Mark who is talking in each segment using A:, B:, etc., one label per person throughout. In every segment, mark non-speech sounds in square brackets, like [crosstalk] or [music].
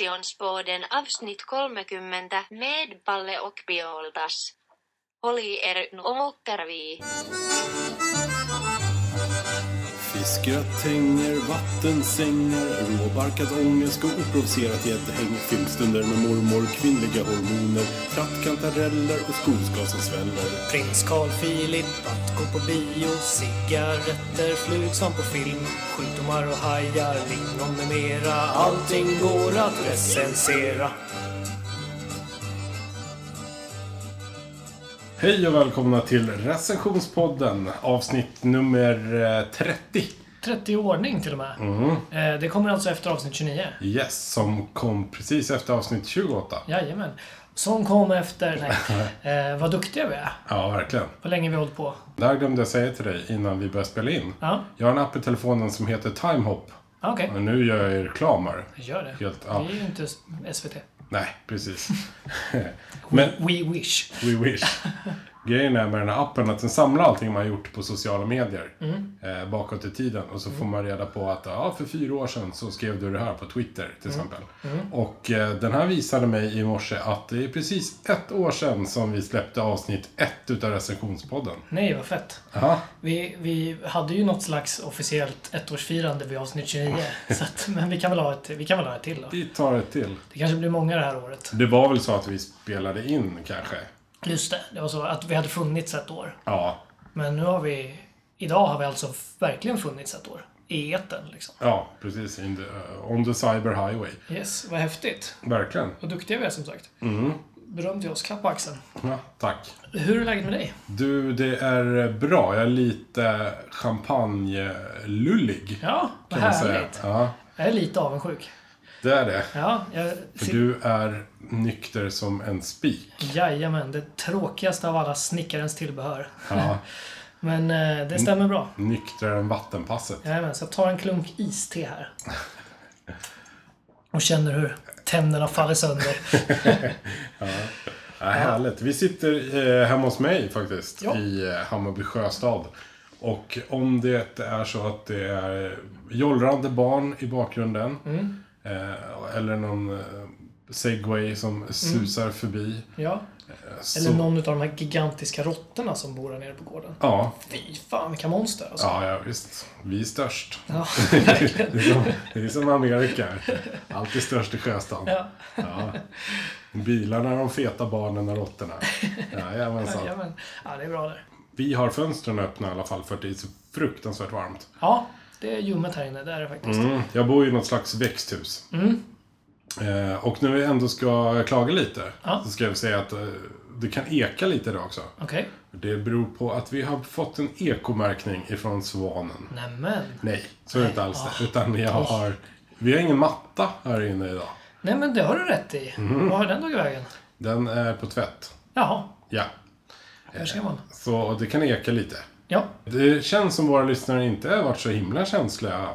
A: Recensionspodden avsnitt 30 med Palle och Bioltas. Håll i er nu åker vi.
B: Fiskgratänger, vattensängar, råbarkad ångest och oprovocerat gäddhäng. Filmstunder med mormor, kvinnliga hormoner, trattkantareller och skogsgas som sväller.
C: Prins Carl Philip att gå på bio Cigaretter, flug som på film Sjukdomar och hajar, lingon med mera Allting går att recensera
B: Hej och välkomna till recensionspodden, avsnitt nummer eh, 30.
C: 30 i ordning till och med. Eh, Det kommer alltså efter avsnitt 29.
B: Yes, som kom precis efter avsnitt 28.
C: Jajamän. Som kom efter... Nej. Eh, vad duktiga vi är.
B: Ja, verkligen.
C: Vad länge vi har hållit på.
B: Det här glömde jag säga till dig innan vi började spela in.
C: Ja,
B: Jag har en app i telefonen som heter TimeHop.
C: ah, okej.
B: Och nu gör jag ju reklam här.
C: Gör det.
B: Helt, ja.
C: Vi är ju inte s- SVT.
B: Nej, precis. [laughs] Men,
C: We wish.
B: We wish. Grejen är med den här appen att den samlar allting man har gjort på sociala medier eh, bakåt i tiden. Och så får man reda på att ja, för fyra år sedan så skrev du det här på Twitter till exempel. Och eh, den här visade mig i morse att det är precis ett år sedan som vi släppte avsnitt ett utav recensionspodden.
C: Nej, vad fett.
B: Aha.
C: Vi, vi hade ju något slags officiellt ettårsfirande vid avsnitt 29.
B: [laughs]
C: så att, men vi kan, väl ha ett, vi kan väl ha ett till då.
B: Vi tar ett till.
C: Det kanske blir många det här året.
B: Det var väl så att vi spelade in kanske?
C: Just det, det var så att vi hade funnits ett år.
B: Ja.
C: Men nu har vi... Idag har vi alltså verkligen funnits ett år. I etern liksom.
B: Ja, precis. In the, eh, on the cyber highway.
C: Yes, vad häftigt.
B: Verkligen.
C: Vad duktiga vi är som sagt. Mm. Beröm till oss. Klapp på axeln.
B: Ja, tack.
C: Hur är läget med dig?
B: Du, det är bra. Jag är lite champagnelullig.
C: Ja,
B: Kan
C: vad
B: man säga.
C: härligt.
B: Ja,
C: Jag är lite avundsjuk.
B: det är det.
C: Ja, jag...
B: För du är nykter som en spik.
C: Jajamän, det tråkigaste av alla snickarens tillbehör.
B: Ja,
C: Men eh,
B: Mm.
C: det stämmer bra.
B: nyktrare än vattenpasset.
C: Jajamän, så jag tar en klunk iste här. Och känner hur tänderna faller sönder.
B: [laughs] Ja, härligt. Vi sitter eh, hemma hos mig faktiskt.
C: Ja.
B: I eh, Hammarby sjöstad. Och om det är så att det är jollrande barn i bakgrunden.
C: Mm.
B: Eh, eller någon eh, segway som susar förbi.
C: Ja. Mm. Eller
B: så-
C: någon av de här gigantiska råttorna som bor här nere på gården.
B: Ja,
C: Fy fan vilka monster alltså.
B: Ja, ja visst. Vi är
C: [laughs]
B: störst.
C: Ja.
B: Det är som, det är som Amerika. Alltid störst i sjöstan.
C: Ja.
B: Ja. Bilarna, de feta barnen och råttorna. Jajamensan.
C: Jajamän. Ja, det är bra där.
B: Vi har fönstren öppna i alla fall för att det är så fruktansvärt varmt.
C: Ja, det är ljummet här inne. Det är det faktiskt.
B: Mm. Jag bor i något slags växthus.
C: Mm.
B: Eh, och när vi ändå ska klaga lite
C: Ja.
B: så ska jag säga att eh, det kan eka lite idag också.
C: Okej.
B: Det beror på att vi har fått en ekomärkning ifrån Svanen.
C: Nämen.
B: Nej, så är det inte alls det. Utan jag har... Vi har ingen matta här inne idag.
C: Nej men det har du rätt i.
B: Mm.
C: Vad har den tagit vägen?
B: Den är på tvätt.
C: Jaha,
B: Ja.
C: där ser man.
B: Så det kan eka lite.
C: Ja,
B: Det känns som våra lyssnare inte har varit så himla känsliga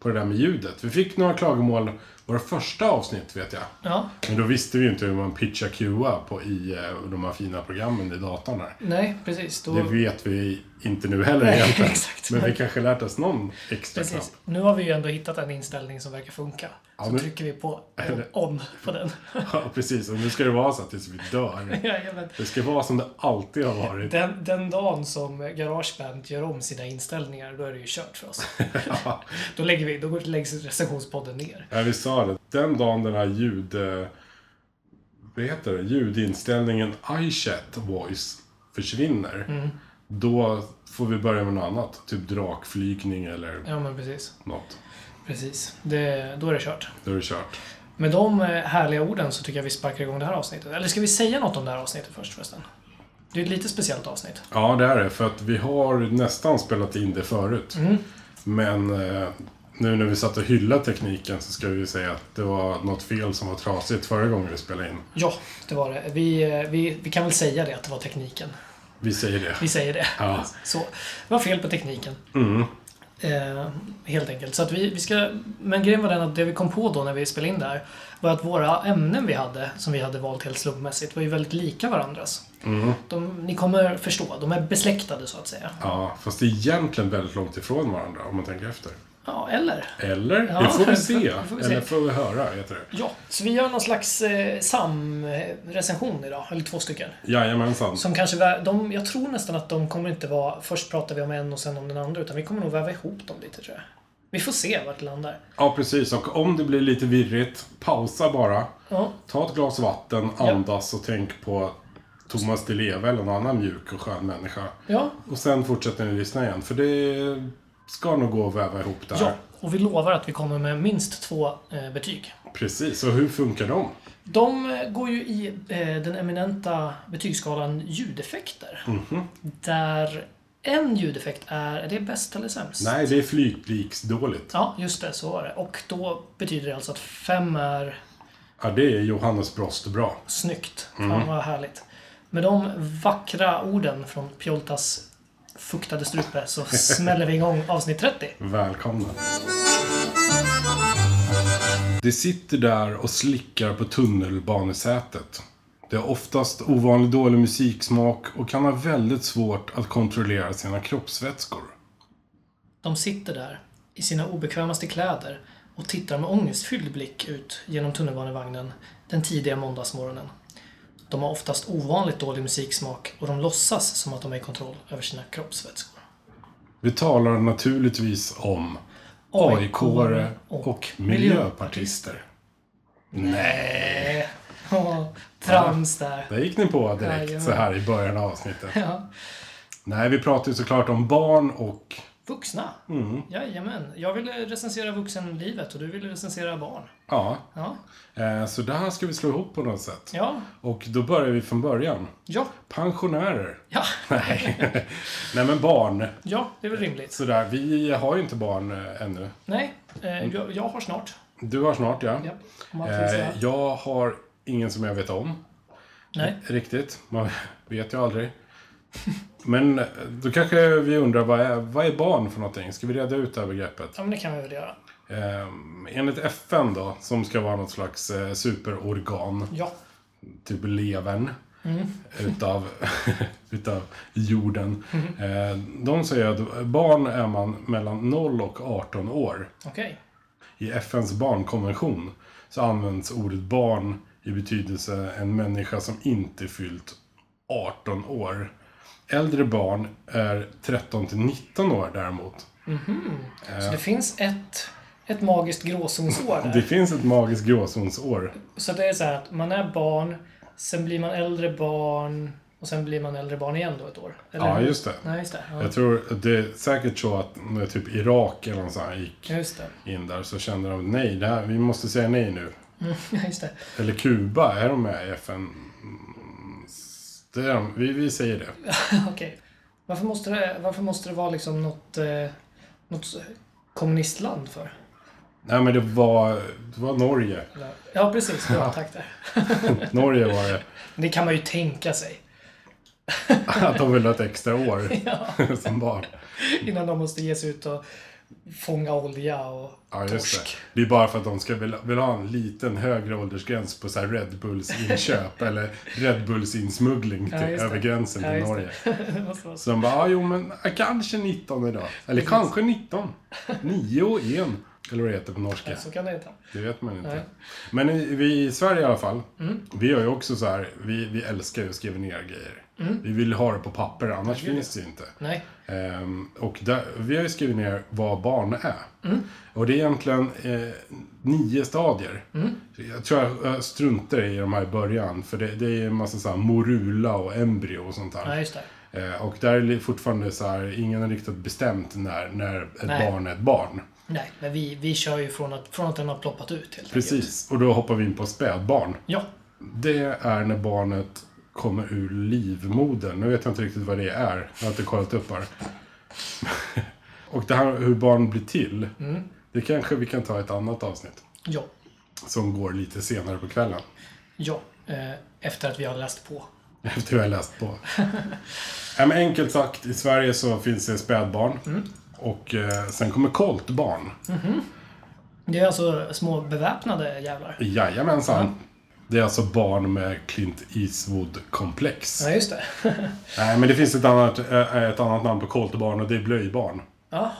B: på det där med ljudet. Vi fick några klagomål våra första avsnitt, vet jag.
C: ja.
B: Men då visste vi ju inte hur man pitchar QA på i eh, de här fina programmen i datorn här.
C: Nej, precis. Då...
B: Det vet vi inte nu heller
C: Mm. Nej,
B: egentligen.
C: [laughs] exakt.
B: Men vi kanske lärt oss någon extra knapp.
C: Precis. Nu har vi ju ändå hittat en inställning som verkar funka. Så
B: men-
C: trycker
B: [laughs]
C: vi på on på den.
B: Ja, precis. Och nu ska det vara så att tills vi dör.
C: Jajamän.
B: Det ska vara som det alltid har
C: [laughs]
B: varit.
C: Den, den dagen som Garageband gör om sina inställningar, då är det ju kört för [laughs] oss.
B: Ja,
C: Då, lägger vi, då går- läggs recensionspodden ner.
B: vi sa det. Den dagen den här ljud... eh, Vad heter det? Ljudinställningen iChat voice försvinner. Då får vi börja med något annat. Typ drakflygning eller
C: Ja, men precis.
B: något.
C: Precis. Det, då är det kört.
B: Då är det kört.
C: Med de eh, härliga orden så tycker jag vi sparkar igång det här avsnittet. Eller ska vi säga något om det här avsnittet först förresten? Det är ett lite speciellt avsnitt.
B: Ja, det är det. För att vi har nästan spelat in det förut. Men eh, nu när vi satt och hyllade tekniken så ska vi ju säga att det var något fel som var trasigt förra gången vi spelade in.
C: Ja, det var det. Vi, eh, vi, vi kan väl säga det, att det var tekniken.
B: Vi säger det.
C: Vi säger det.
B: Ja.
C: Så, det var fel på tekniken. Eh, helt enkelt. Så att vi, vi ska, men grejen var den att det vi kom på då när vi spelade in det här var att våra ämnen vi hade, som vi hade valt helt slumpmässigt, var ju väldigt lika varandras. De, ni kommer förstå, de är besläktade så att säga.
B: Ja, fast det är egentligen väldigt långt ifrån varandra om man tänker efter.
C: Ja, eller?
B: Eller?
C: Ja,
B: det får vi se.
C: det får vi se.
B: Eller får vi höra, heter det.
C: Ja, så vi gör någon slags eh, samrecension idag, eller två stycken.
B: Jajamensan.
C: Som kanske, vä- de, jag tror nästan att de kommer inte vara, först pratar vi om en och sen om den andra, utan vi kommer nog väva ihop dem lite tror jag. Vi får se vart det landar.
B: Ja, precis. Och om det blir lite virrigt, pausa bara.
C: Ja,
B: Ta ett glas vatten, andas och tänk på Thomas Di Leva eller någon annan mjuk och skön människa.
C: ja,
B: Och sen fortsätter ni lyssna igen, för det ska nog gå att väva ihop det här.
C: ja. Och vi lovar att vi kommer med minst två eh, betyg.
B: Precis, och hur funkar de?
C: De eh, går ju i eh, den eminenta betygsskalan ljudeffekter. Där en ljudeffekt är, är det bäst eller sämst?
B: Nej, det är flytliksdåligt.
C: Ja, just det, så var det. Och då betyder det alltså att fem är
B: Ja, det är Johannes Brost bra.
C: Snyggt. Fan vad härligt. Med de vackra orden från Pjoltas fuktade strupe så smäller vi igång avsnitt 30.
B: Välkomna. De sitter där och slickar på tunnelbanesätet. De har oftast ovanligt dålig musiksmak och kan ha väldigt svårt att kontrollera sina kroppsvätskor.
C: De sitter där i sina obekvämaste kläder och tittar med ångestfylld blick ut genom tunnelbanevagnen den tidiga måndagsmorgonen. De har oftast ovanligt dålig musiksmak och de låtsas som att de är i kontroll över sina kroppsvätskor.
B: Vi talar naturligtvis om AIK-are och miljöpartister. Nej!
C: Eh, åh, Trams där.
B: Där gick ni på direkt
C: Jajamän.
B: så här i början av avsnittet.
C: Ja.
B: Nej, vi pratar ju såklart om barn och...
C: Vuxna? Mm. Jajamän. Jag ville recensera vuxenlivet och du ville recensera barn.
B: Ja,
C: Ja.
B: eh, så det här ska vi slå ihop på något sätt.
C: Ja.
B: Och då börjar vi från början.
C: Ja.
B: Pensionärer. [laughs]
C: Ja.
B: Nej. Nej, men barn.
C: Ja, det är väl rimligt.
B: Sådär, vi har ju inte barn eh, ännu.
C: Nej, eh, jag, jag har snart.
B: Du har snart, ja.
C: Ja. Om man får säga.
B: Eh, jag har ingen som jag vet om.
C: Nej.
B: Riktigt. Man [laughs] vet ju aldrig. Men eh, då kanske vi undrar, vad är, vad är barn för någonting? Ska vi reda ut det här begreppet?
C: Ja, men det kan vi väl göra.
B: Ehm, enligt FN då, som ska vara något slags eh, superorgan,
C: Ja.
B: typ levern, utav, [laughs] utav jorden. Ehm, de säger att barn är man mellan 0 och 18 år.
C: Okej.
B: I FNs barnkonvention så används ordet barn i betydelse en människa som inte fyllt 18 år. Äldre barn är 13 till 19 år däremot. Eh.
C: Så det finns ett, ett magiskt gråzonsår
B: [laughs]
C: där.
B: Det finns ett magiskt gråzonsår.
C: Så det är så här att man är barn, sen blir man äldre barn och sen blir man äldre barn igen då ett år. Eller?
B: Ja, just det.
C: Nej, just det. Ja.
B: Jag tror att det är säkert så att när typ Irak eller något sånt här gick
C: Ja, Just det. [laughs]
B: in där så kände de nej, det här, vi måste säga nej nu.
C: Ja, just det. [laughs]
B: Eller Kuba, är de med i FN? Mm, Det är de, vi, vi säger det.
C: Okej. Varför, måste det, varför måste det vara liksom något, eh, något kommunistland för?
B: Nej men det var, det var Norge.
C: Eller- Ja,
B: [laughs]
C: precis. Bra, tack där.
B: Norge var det. [laughs]
C: Det kan man ju tänka sig [laughs]
B: Att de ville ha ett extra år [laughs]
C: Ja.
B: som barn.
C: innan de måste ge sig ut och fånga olja och
B: Ja, just det.
C: torsk.
B: Det är bara för att de ska vilja, vill ha en liten högre åldersgräns på så här Red Bulls inköp
C: [laughs]
B: eller Red Bulls insmuggling till,
C: Ja, just det.
B: Typ över gränsen
C: Ja,
B: till
C: just det.
B: Norge.
C: Det [laughs] måste vara så.
B: Så de bara, ah, jo men ah, kanske 19 idag. Eller kanske 19. 9 och 1. Eller vad det heter på norska.
C: Så kan det heta.
B: Det vet man inte.
C: Nej. Mm.
B: Men i, vi i Sverige i alla fall. Vi gör ju också så här, vi, vi älskar ju att skriva ner grejer.
C: Mm.
B: Vi vill ha det på papper, annars finns det ju inte.
C: Nej.
B: Ehm, och där, vi har ju skrivit ner vad barn är.
C: Mm.
B: Och det är egentligen eh, nio stadier.
C: Mm.
B: Jag tror jag, jag struntar i de här i början, för det, det är en massa så här morula och embryo och sånt där.
C: Nej, just det.
B: Eh, Och där är det fortfarande så här, ingen är riktigt bestämt när, när ett
C: Nej.
B: barn är ett barn.
C: Nej, men vi, vi kör ju från att, från att den har ploppat ut helt enkelt.
B: Precis, och då hoppar vi in på spädbarn.
C: Ja.
B: Det är när barnet kommer ur livmodern. Nu vet jag inte riktigt vad det är. Jag har inte kollat upp här. [laughs] och det här hur barn blir till. Det kanske vi kan ta i ett annat avsnitt.
C: Ja.
B: Som går lite senare på kvällen. [laughs]
C: Ja. Eh, efter att vi har läst på.
B: Efter jag har läst på. Nej, men enkelt sagt, i Sverige så finns det spädbarn. Och eh, sen kommer koltbarn.
C: Det är alltså små beväpnade jävlar.
B: Jajamensan. Det är alltså barn med Clint Eastwood-komplex.
C: Ja, just det. [laughs]
B: Nej, men det finns ett annat, eh, ett annat namn på koltbarn och det är blöjbarn.
C: Jaha.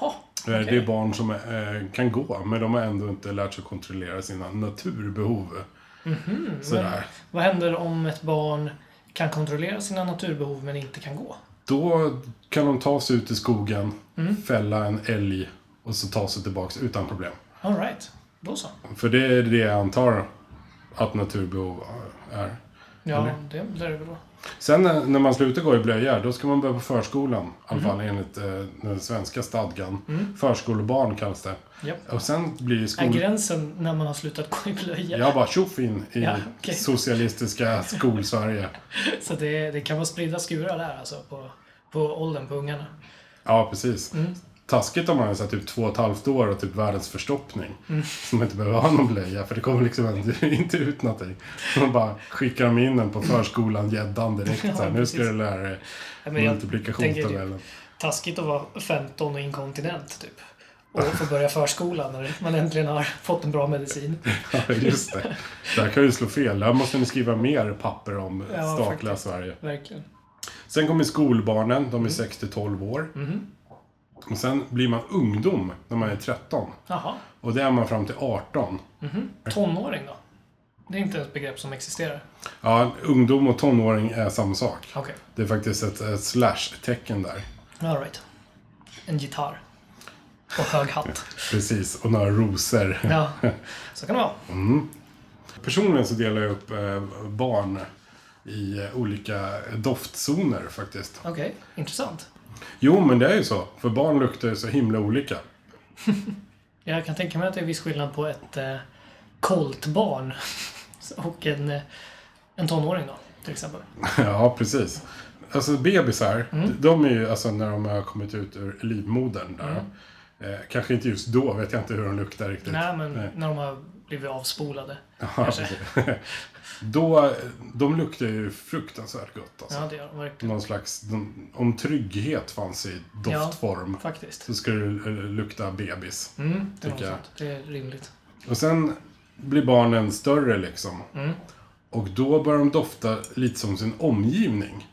B: Det är- Det är barn som eh, kan gå, men de har ändå inte lärt sig kontrollera sina naturbehov.
C: Mhm,
B: Sådär.
C: Vad händer om ett barn kan kontrollera sina naturbehov men inte kan gå?
B: Då kan de ta sig ut i skogen,
C: Mm.
B: fälla en älg och så ta sig tillbaks utan problem.
C: All right. Då så.
B: För det är det jag antar att naturbehov är.
C: Ja, det lär det väl vara.
B: Sen eh, när när man slutar gå i blöja, då ska man börja på förskolan. I alla
C: Mm.
B: fall enligt eh, den svenska stadgan. Förskolebarn kallas det.
C: Japp.
B: Och sen blir
C: Är
B: skol...
C: gränsen när man har slutat gå i blöja?
B: Jag bara tjoff in i
C: Ja, okej.
B: socialistiska skolsverige.
C: Så det, det kan vara spridda skurar där alltså på, på åldern på ungarna.
B: Ja, precis.
C: Mm.
B: Taskigt om man är så här, typ två och ett halvt år och typ världens förstoppning.
C: Mm.
B: Som inte behöver ha någon blöja, för det kommer liksom ändå [laughs] inte ut någonting. Man bara skickar dem in den på förskolan gäddan direkt.
C: [laughs]
B: så här, nu ska
C: precis.
B: du lära dig
C: Nej, men jag tänker typ det är
B: multiplikationstabellen.
C: Taskigt att vara 15 och inkontinent typ. Och få börja förskolan när man äntligen har fått en bra medicin.
B: [laughs] Ja, just det. Där kan ju slå fel. Här måste ni skriva mer papper om
C: Ja,
B: statliga
C: faktiskt. Mm.
B: Sverige.
C: Verken.
B: Sen kommer skolbarnen, de är 6-12 år.
C: Mm-hmm.
B: Och sen blir man ungdom när man är 13.
C: Jaha.
B: Och det är man fram till 18.
C: Tonåring då? Det är inte ett begrepp som existerar.
B: Ja, ungdom och tonåring är samma sak.
C: Okej.
B: Det är faktiskt ett, ett slash-tecken där.
C: All right. En gitarr. Och hög hatt.
B: Precis, och några rosor.
C: Ja, så kan det vara.
B: Personligen så delar jag upp eh, barn i eh, olika doftzoner faktiskt.
C: Okej, intressant.
B: Jo, men det är ju så. För barn luktar ju så himla olika. [laughs]
C: Jag kan tänka mig att det är viss skillnad på ett eh, koltbarn [laughs] och en, eh, en tonåring då, till exempel.
B: Ja, precis. Alltså bebisar,
C: Mm.
B: de är ju alltså när de har kommit ut ur livmodern
C: Mm.
B: där. Eh, kanske inte just då, vet jag inte hur de luktar riktigt.
C: Nej, men när de har blivit avspolade.
B: [laughs] Ja, precis. [laughs] då, de luktar ju fruktansvärt gott alltså.
C: Ja, det gör de verkligen.
B: Någon slags, de- om trygghet fanns i doftform
C: Faktiskt.
B: så skulle det eh, lukta bebis.
C: Mm, det,
B: Tycker
C: är något
B: jag.
C: sånt. det är rimligt.
B: Och sen blir barnen större liksom. Och då börjar de dofta lite som sin omgivning.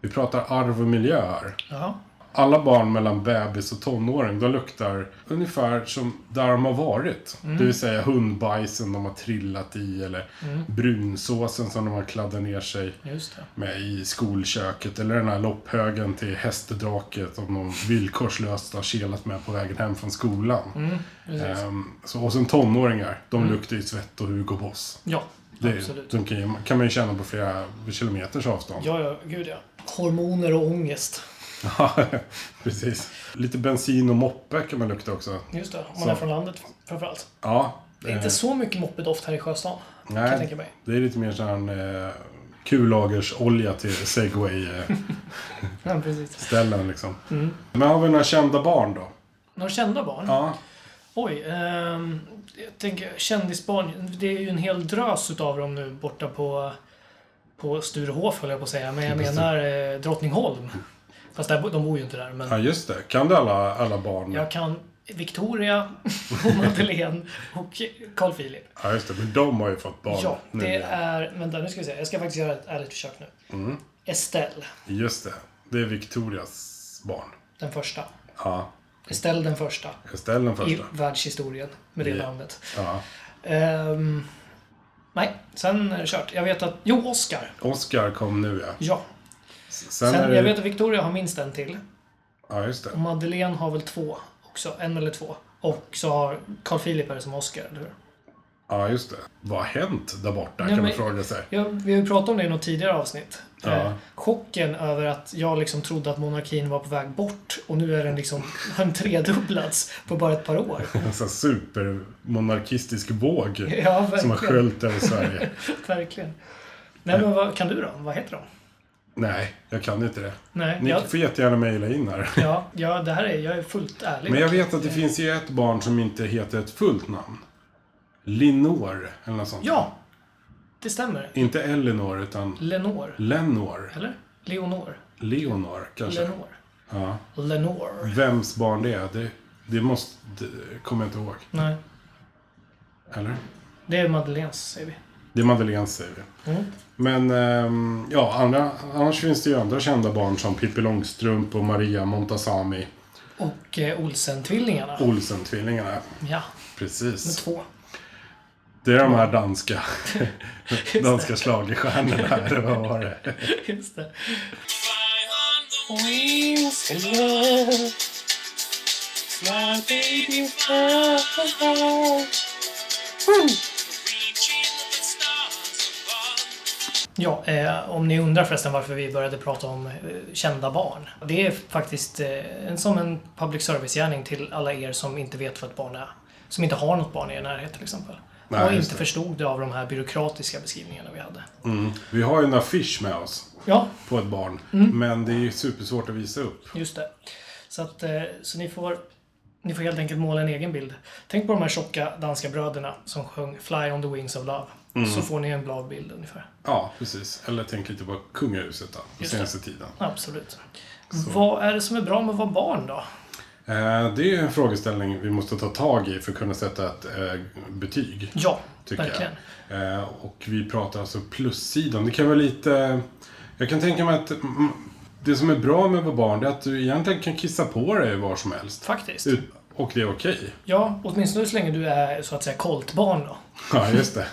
B: Vi pratar arv och miljö här.
C: Ja,
B: Alla barn mellan bebis och tonåring, de luktar ungefär som där de har varit. Det vill säga hundbajsen de har trillat i eller brunsåsen som de har kladdat ner sig
C: just det.
B: med i skolköket. Eller den här lopphögen till hästdraket som de villkorslöst har kelat med på vägen hem från skolan.
C: Mm, Precis.
B: Ehm, så, och sen tonåringar, de luktar ju svett och Hugo Boss.
C: Ja,
B: Det
C: absolut.
B: de kan, ju- kan man ju känna på flera kilometers avstånd.
C: Ja, ja, gud ja. Hormoner och ångest.
B: [laughs] Ja, precis. Lite bensin och moppe kan man lukta också.
C: Just det, om man
B: Så.
C: är från landet framförallt.
B: Ja. eh,
C: Det är inte så mycket moppedoft här i Sjöstan. Kan jag tänka
B: nej,
C: mig.
B: det är lite mer sån eh, kullagersolja till segway-ställen
C: Ja, precis.
B: liksom.
C: Mm.
B: Men har vi några kända barn då?
C: Några kända barn?
B: Ja.
C: Oj, ehm, jag tänker kändisbarn. Det är ju en hel drös utav dem nu borta på, på Sturehof höll jag på att säga. Men jag menar eh, Drottningholm. Fast där, bo- de bor ju inte där. Men
B: Ja, just det. Kan du alla, alla barn?
C: jag kan Victoria [laughs] och Madeleine och Carl Philip.
B: Ja, just det. Men de har ju fått barn
C: Ja,
B: nu.
C: det
B: igen.
C: är... Vänta, nu ska vi se. Jag ska faktiskt göra ett ärligt försök nu. Estelle,
B: Just det. Det är Victorias barn.
C: den första.
B: Ja.
C: Estelle den första.
B: Estelle den första.
C: I världshistorien med det
B: Ja.
C: namnet.
B: Ja.
C: Ehm, nej, sen är det kört. Jag vet att... Jo, Oscar.
B: Oscar kom nu ja.
C: Ja.
B: Sen, är
C: Sen,
B: det...
C: jag vet att Victoria har minst en till.
B: Ja, just
C: Och
B: det.
C: Madeleine har väl två också. En eller två. Och så har Carl Philip är det som Oscar, eller hur?
B: Ja, just det. Vad har hänt där borta
C: Nej,
B: kan man
C: men-
B: fråga sig.
C: Ja, vi har ju pratat om det i något tidigare avsnitt.
B: Ja.
C: Eh, chocken över att jag liksom trodde att monarkin var på väg bort och nu är den liksom, [laughs] har den tredubblats på bara ett par år. [laughs]
B: En sån här supermonarkistisk våg
C: Ja,
B: som har
C: verkligen.
B: sköljt över Sverige.
C: verkligen. Nej, men vad kan du då? Vad heter de?
B: Nej, jag kan inte det.
C: Nej,
B: Ni
C: jag,
B: får jättegärna mejla in här.
C: ja, ja, det här är, jag är fullt ärlig.
B: Men jag vet att det finns ju ett barn som inte heter ett fullt namn. Linor, eller något sånt.
C: Ja, det stämmer.
B: Inte Elinor, utan
C: Lenore,
B: Lenor.
C: eller? Leonor.
B: Leonor, kanske.
C: Lenore.
B: Ja.
C: Lenore.
B: Vems barn det är, det, det måste... Det kommer jag inte ihåg.
C: Nej,
B: Eller?
C: det är Madeleines, säger vi.
B: Det är Madeleines säger vi.
C: Mm.
B: Men ehm, ja, andra, annars finns det ju andra kända barn som Pippi Långstrump och Maria Montazami.
C: Och eh, Olsen-tvillingarna.
B: Olsen-tvillingarna.
C: Ja, med
B: Precis.
C: två. [laughs]
B: Det är de här danska,
C: det.
B: danska schlagerstjärnorna. Eller vad var det?
C: Just det.
D: Fly on the wings of love. Fly, baby, fly. Reaching the stars above.
C: Ja, eh, om ni undrar förresten varför vi började prata om eh, kända barn. Det är faktiskt eh, en, som en public service-gärning till alla er som inte vet vad ett barn är. Som inte har något barn i er närhet till exempel.
B: Nej,
C: och
B: just
C: inte
B: det.
C: förstod det av de här byråkratiska beskrivningarna vi hade.
B: Mm. Vi har ju en affisch med oss
C: Ja,
B: på ett barn.
C: Mm.
B: Men det är ju supersvårt att visa upp.
C: just det. Så, att, eh, så ni, får, ni får helt enkelt måla en egen bild. Tänk på de här tjocka danska bröderna som sjöng Fly on the wings of love.
B: Mm.
C: Så får ni en bra bild ungefär.
B: Ja, precis. Eller tänk lite på kungahuset då, på
C: Just det.
B: senaste tiden.
C: Absolut. Vad är det som är bra med att vara barn då?
B: Eh, Det är ju en frågeställning vi måste ta tag i för att kunna sätta ett eh, betyg.
C: Ja,
B: Tycker
C: verkligen.
B: jag. Eh, Och vi pratar alltså plussidan. Det kan vara lite... Jag kan tänka mig att mm, det som är bra med att vara barn det är att du egentligen kan kissa på dig var som helst.
C: Faktiskt.
B: Ut- Och det är okej. [laughs]
C: Ja, åtminstone så länge du är så att säga koltbarn då.
B: Ja, just det.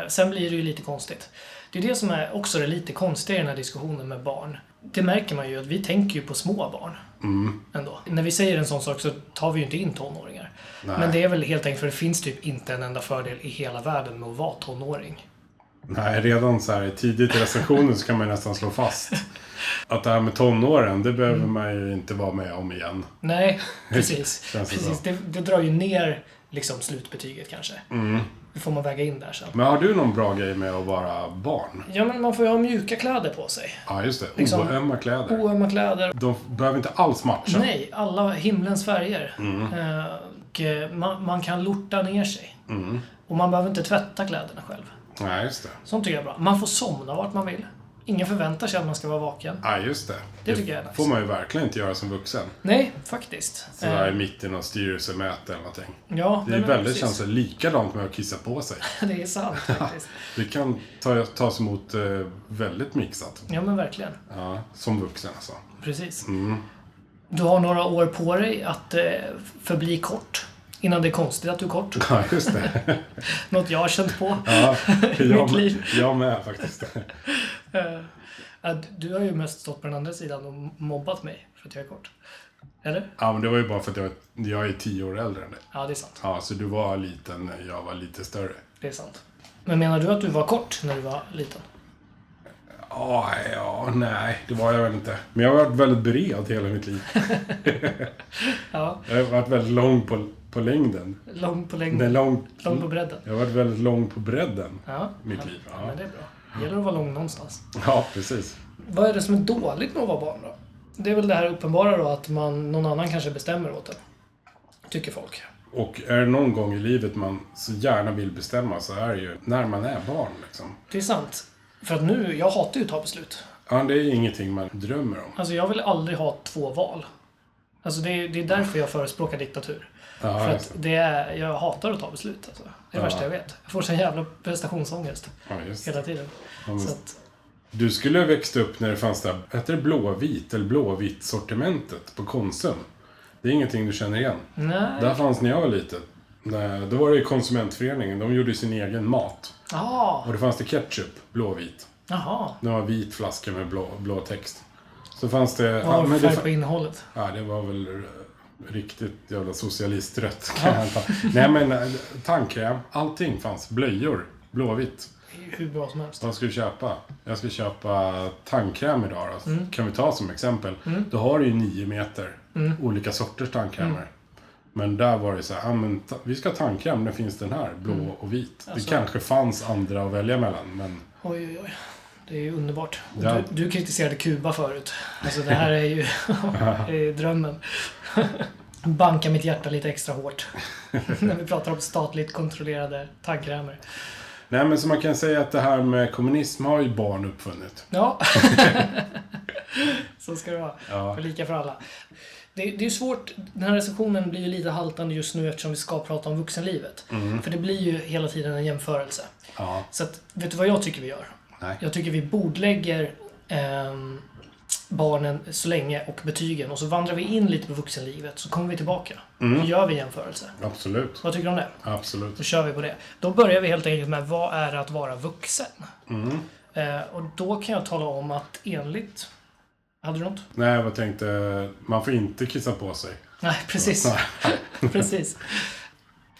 C: Eh, sen blir det ju lite konstigt. Det är det som är också det lite konstiga i den här diskussionen med barn. Det märker man ju att vi tänker ju på små barn.
B: Mm.
C: Ändå. När vi säger en sån sak så tar vi ju inte in tonåringar.
B: Nej.
C: Men det är väl helt enkelt för det finns typ inte en enda fördel i hela världen med att vara tonåring.
B: Nej, redan så här tidigt i recensionen så kan man ju nästan slå fast att det här med tonåren, det behöver
C: Mm.
B: man ju inte vara med om igen. [laughs]
C: Nej, precis.
B: Känns det
C: precis. Det, det drar ju ner liksom slutbetyget kanske.
B: Mm.
C: Det får man väga in där sen.
B: Men har du någon bra grej med att vara barn?
C: Ja, men man får ju ha mjuka kläder på sig.
B: Ja, just det.
C: Liksom-
B: Oömma kläder.
C: Oömma kläder
B: De behöver inte alls matcha.
C: Nej, alla himlens färger.
B: Mm.
C: Eh, och eh, man, man kan lorta ner sig.
B: Mm.
C: Och man behöver inte tvätta kläderna själv.
B: Nej, just det.
C: Sånt tycker jag är bra. Man får somna vart man vill. Ingen förväntar sig att man ska vara vaken.
B: Ja, just det.
C: Det tycker jag är nice.
B: får man ju verkligen inte göra som vuxen.
C: Nej, faktiskt.
B: Sådär
C: Eh,
B: mitt i någon styrelsemöte eller någonting.
C: ja,
B: Det är
C: nej, men
B: väldigt
C: precis.
B: känsligt. Likadant med att kissa på sig.
C: [laughs] Det är sant faktiskt.
B: Det kan ta, tas emot eh, väldigt mixat.
C: Ja, men verkligen.
B: Ja, Mm. som vuxen alltså.
C: Precis. Du har några år på dig att eh, förbli kort. Innan det är konstigt att du är
B: [laughs]
C: kort.
B: Ja, just
C: [laughs]
B: det.
C: Något jag har känt på.
B: Ja, jag,
C: Mitt liv.
B: jag med faktiskt.
C: Att du har ju mest stått på den andra sidan och mobbat mig för att jag är kort. Eller?
B: Ja, men det var ju bara för att jag, jag är tio år äldre än dig.
C: Ja, det är sant.
B: Ja, så du var liten när jag var lite större.
C: Det är sant. Men menar du att du var kort när du var liten?
B: Ja, Ah, ja, nej, det var jag väl inte. Men jag har varit väldigt bred hela mitt liv.
C: Ja.
B: Jag har varit väldigt lång på, på längden.
C: Lång på
B: Nej,
C: längden,
B: lång,
C: lång på bredden.
B: jag har varit väldigt lång på bredden.
C: Ja.
B: Mitt
C: ja.
B: liv, ja.
C: Ja, men det är bra. Det gäller att vara lång någonstans.
B: Ja, precis.
C: Vad är det som är dåligt med att vara barn då? Det är väl det här uppenbara då att man, någon annan kanske bestämmer åt en. Tycker folk.
B: Och är det någon gång i livet man så gärna vill bestämma så är det ju när man är barn. Liksom.
C: Det är sant. För att nu, jag hatar ju att ta beslut.
B: Ja, det är ingenting man drömmer om.
C: Alltså jag vill aldrig ha två val. Alltså det är, det är därför jag förespråkar diktatur.
B: Ja,
C: För
B: just
C: att det är, jag hatar att ta beslut alltså. Det är det
B: Ja.
C: värsta jag vet. Jag får sån jävla prestationsångest
B: det. Ja, just. det.
C: hela tiden.
B: Ja, men-
C: Så att,
B: Du skulle ha växt upp när det fanns det här, heter det blåvit eller blåvitt sortimentet på Konsum? Det är ingenting du känner igen.
C: nej.
B: Där fanns när jag var liten. Nej, Då var det ju konsumentföreningen, de gjorde sin egen mat.
C: Jaha.
B: Och då fanns det ketchup, blåvit.
C: Jaha.
B: Det var en vit flaska med blå, blå text. Så fanns det...
C: Vad har
B: men
C: du
B: det
C: för färg
B: fa-
C: på innehållet?
B: Ja, det var väl eh, riktigt jävla socialistrött kan jag anta. Nej men eh, tandkräm, allting fanns. Blöjor, blåvitt.
C: Det är ju Hur bra som helst.
B: Vad ska du köpa? Jag ska köpa tandkräm idag då. Kan vi ta som exempel. Då har du ju nio meter olika sorters tandkrämer. Men där var det så här, ah, men ta- vi ska ha tandkräm, nu finns den här, blå och vit.
C: Alltså-
B: Det kanske fanns andra att välja mellan, men
C: Oj, oj, oj. Det är ju underbart. Och
B: Ja.
C: Du, du kritiserade Kuba förut. Alltså det här
B: [laughs]
C: är ju det är ju drömmen. [laughs] Banka mitt hjärta lite extra hårt. [laughs] När vi pratar om statligt kontrollerade tandkrämer.
B: Nej men så man kan säga att det här med kommunism har ju barn uppfunnit.
C: Ja. [laughs] Så ska det vara.
B: Ja.
C: För lika för alla. Det, det är ju svårt, den här recensionen blir ju lite haltande just nu eftersom vi ska prata om vuxenlivet.
B: Mm.
C: För det blir ju hela tiden en jämförelse.
B: Ja,
C: Så att, vet du vad jag tycker vi gör?
B: nej.
C: Jag tycker vi bordlägger ehm, barnen så länge och betygen och så vandrar vi in lite på vuxenlivet så kommer vi tillbaka. Då gör vi jämförelser.
B: Absolut.
C: Vad tycker du om det?
B: Absolut.
C: Då kör vi på det. Då börjar vi helt enkelt med vad är att vara vuxen? Eh, och då kan jag tala om att enligt... Hade du något?
B: Nej, jag tänkte, man får inte kissa på sig.
C: Nej, precis. [laughs] precis.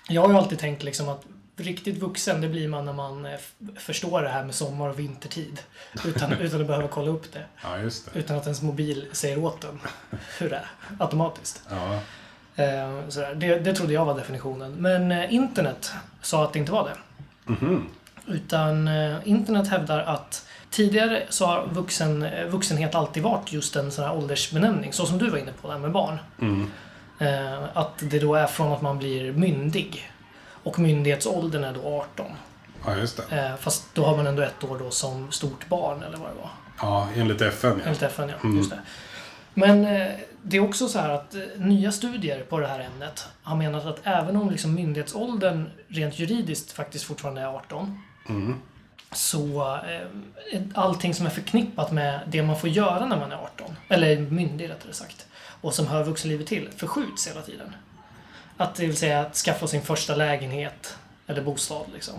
C: Jag har ju alltid tänkt liksom att riktigt vuxen, det blir man när man eh, f- förstår det här med sommar och vintertid. Utan, utan att behöva kolla upp det.
B: Ja, just det.
C: Utan att ens mobil säger åt en hur det är, automatiskt.
B: Ja.
C: Eh, sådär. Det, det trodde jag var definitionen. Men eh, internet sa att det inte var det. Utan eh, internet hävdar att tidigare så har vuxen, eh, vuxenhet alltid varit just en sån här åldersbenämning. Så som du var inne på där med barn. Eh, att det då är från att man blir myndig. Och myndighetsåldern är då 18.
B: ja, just det.
C: Eh, fast då har man ändå ett år då som stort barn eller vad det var.
B: Ja, enligt FN ja.
C: Enligt FN, ja. Just det. Men eh, det är också så här att eh, nya studier på det här ämnet har menat att även om liksom myndighetsåldern rent juridiskt faktiskt fortfarande är 18 så eh, allting som är förknippat med det man får göra när man är 18, eller myndig rättare sagt, och som hör vuxenlivet till, förskjuts hela tiden. Att det vill säga att skaffa sin första lägenhet eller bostad. Liksom.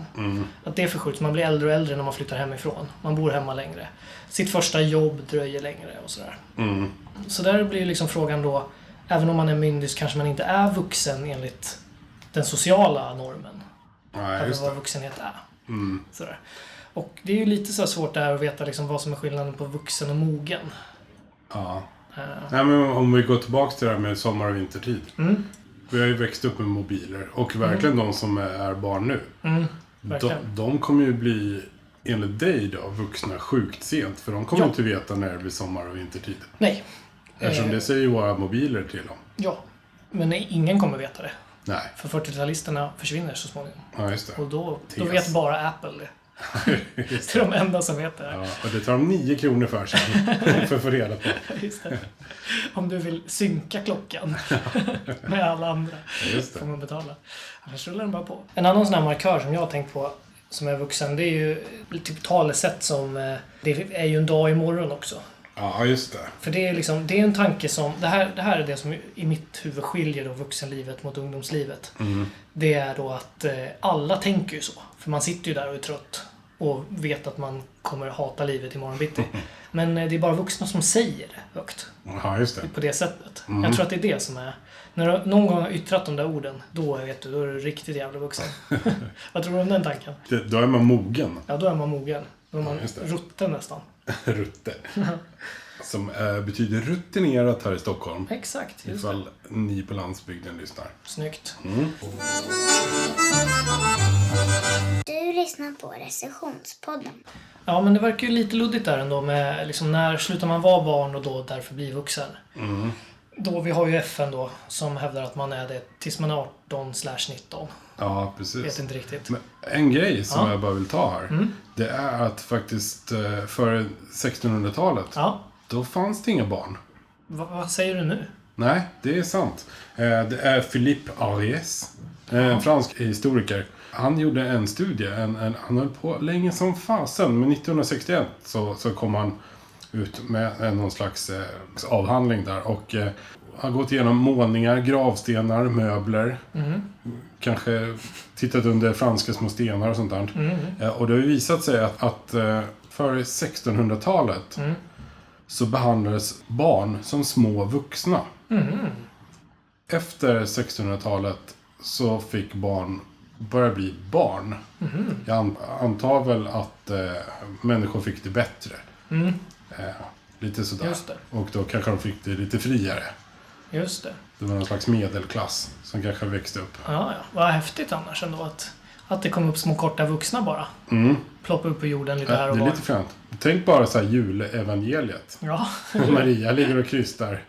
C: Att det förskjuts. Man blir äldre och äldre när man flyttar hemifrån. Man bor hemma längre. Sitt första jobb dröjer längre och sådär.
B: Mm.
C: Så där blir liksom frågan då, även om man är myndig så kanske man inte är vuxen enligt den sociala normen.
B: Ja,
C: Eller
B: just
C: vad
B: det. Mm.
C: vuxenhet är. Sådär. Och det är ju lite så här svårt det här att veta liksom vad som är skillnaden på vuxen och mogen.
B: Ja.
C: Eh.
B: Nej, men om vi går tillbaka till det här med sommar och vintertid.
C: Mm.
B: Vi har ju växt upp med mobiler och verkligen de som är barn nu. de,
C: verkligen.
B: de kommer ju bli, enligt dig då, vuxna sjukt sent. För de kommer
C: Ja.
B: inte veta när det blir sommar och vintertid.
C: Nej.
B: Eftersom
C: Eh.
B: det säger ju våra mobiler till dem.
C: Ja. Men nej, ingen kommer veta det.
B: Nej,
C: För 40-talisterna försvinner så småningom.
B: ja just det.
C: Och då, då
B: Tes.
C: vet bara Apple det.
B: [laughs] Just
C: Det är de enda som vet det.
B: Ja, och det tar de nio kronor för
C: [laughs]
B: sen. för att få reda på.
C: Just det. Om du vill synka klockan [laughs] med alla andra
B: Just det.
C: får man betala. Annars rullar den bara på. En annan sån här markör som jag har tänkt på som är vuxen, det är ju typ talesätt som eh, det är ju en dag imorgon också.
B: Ja, just det.
C: För det är, liksom, det är en tanke som, det här, det här är det som i mitt huvud skiljer då vuxenlivet mot ungdomslivet.
B: Mm.
C: Det är då att eh, alla tänker ju så. För man sitter ju där och är trött och vet att man kommer hata livet
B: [laughs]
C: imorgon bitti. Men eh, det är bara vuxna som säger det högt
B: Ja, just det.
C: på det sättet.
B: Mm.
C: Jag tror att det är det som är... När du någon gång har yttrat de där orden, då vet du, då är du riktigt
B: [laughs]
C: jävla vuxen. Vad tror du om den tanken?
B: det. Då är man mogen. [laughs]
C: Ja, då är man mogen. Då är man
B: just det.
C: rutten nästan.
B: Rutte. Som eh, betyder rutinerat här i Stockholm.
C: Exakt, just det.
B: Ifall ni på landsbygden lyssnar.
C: Snyggt.
B: Mm.
E: Du lyssnar på Recessionspodden.
C: Ja, men det verkar ju lite luddigt där ändå med liksom, när slutar man vara barn och då därför bli vuxen?
B: Mm.
C: Då, vi har ju FN då, som hävdar att man är det tills man är 18 slash 19.
B: Ja,
C: Vet
B: precis.
C: inte riktigt.
B: Men en grej som
C: Ja. Mm.
B: jag bara vill ta här. Det är att faktiskt eh, före 1600-talet,
C: Ja,
B: då fanns det inga barn.
C: vad, vad säger du nu?
B: Nej, det är sant. Eh, Det är Philippe Ariès, eh, en fransk historiker. Han gjorde en studie, en, en, han höll på länge som fasen, men 1961 så, så kom han ut med eh, någon slags eh, avhandling där och eh, har gått igenom målningar, gravstenar, möbler. Kanske tittat under franska små stenar och sånt där.
C: Mm,
B: Eh, Och det har ju visat sig att, att eh, före 1600-talet
C: Mm.
B: så behandlades barn som små vuxna.
C: Mm,
B: Efter 1600-talet så fick barn börja bli barn.
C: Mm,
B: Jag an- antar väl att eh, människor fick det bättre. Eh, lite sådär.
C: Mm. Just det.
B: Och då kanske de fick det lite friare.
C: Just det.
B: Det var någon slags medelklass som kanske växte upp.
C: Ja, ja. Vad häftigt annars ändå att, att det kom upp små korta vuxna bara. Ploppa upp på jorden lite här
B: Mm. det
C: och
B: är
C: var.
B: lite fränt. Tänk bara så här
C: [laughs]
B: julevangeliet.
C: Ja,
B: Maria ligger och krystar.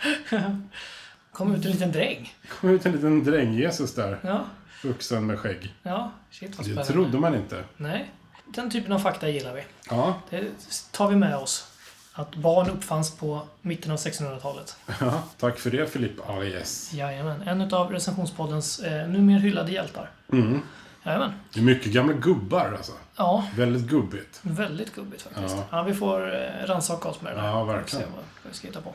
C: kom ut en liten dräng.
B: Kom ut en liten dräng-Jesus där.
C: Ja,
B: Vuxen med skägg.
C: ja. Shit vad
B: Det
C: spännande.
B: trodde man inte.
C: Nej, den typen av fakta gillar vi.
B: Ja,
C: Det tar vi med oss. Att barn uppfanns på mitten av 1600-talet.
B: ja. tack för det Filip E Arias.
C: Jajamän, en av
B: Mm.
C: recensionspoddens eh, numera hyllade hjältar. Jajamän.
B: Det är mycket gamla gubbar alltså.
C: Ja,
B: Väldigt gubbigt.
C: väldigt gubbigt faktiskt. Ja.
B: Ja.
C: vi får eh, rannsaka oss med det där.
B: Ja,
C: Får
B: verkligen.
C: Se vad vad vi ska hitta på.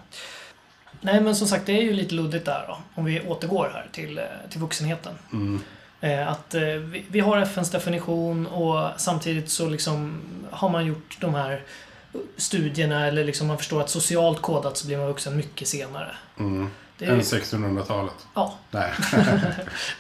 C: Nej, men som sagt, det är ju lite luddigt där då. Om vi återgår här till, eh, till vuxenheten.
B: Mm.
C: Eh, att eh, vi, vi har FNs definition och samtidigt så liksom har man gjort de här studierna eller liksom man förstår att socialt kodat så blir man vuxen mycket senare.
B: Mm.
C: Det är,
B: Än 1600-talet.
C: ja,
B: Nej. [laughs]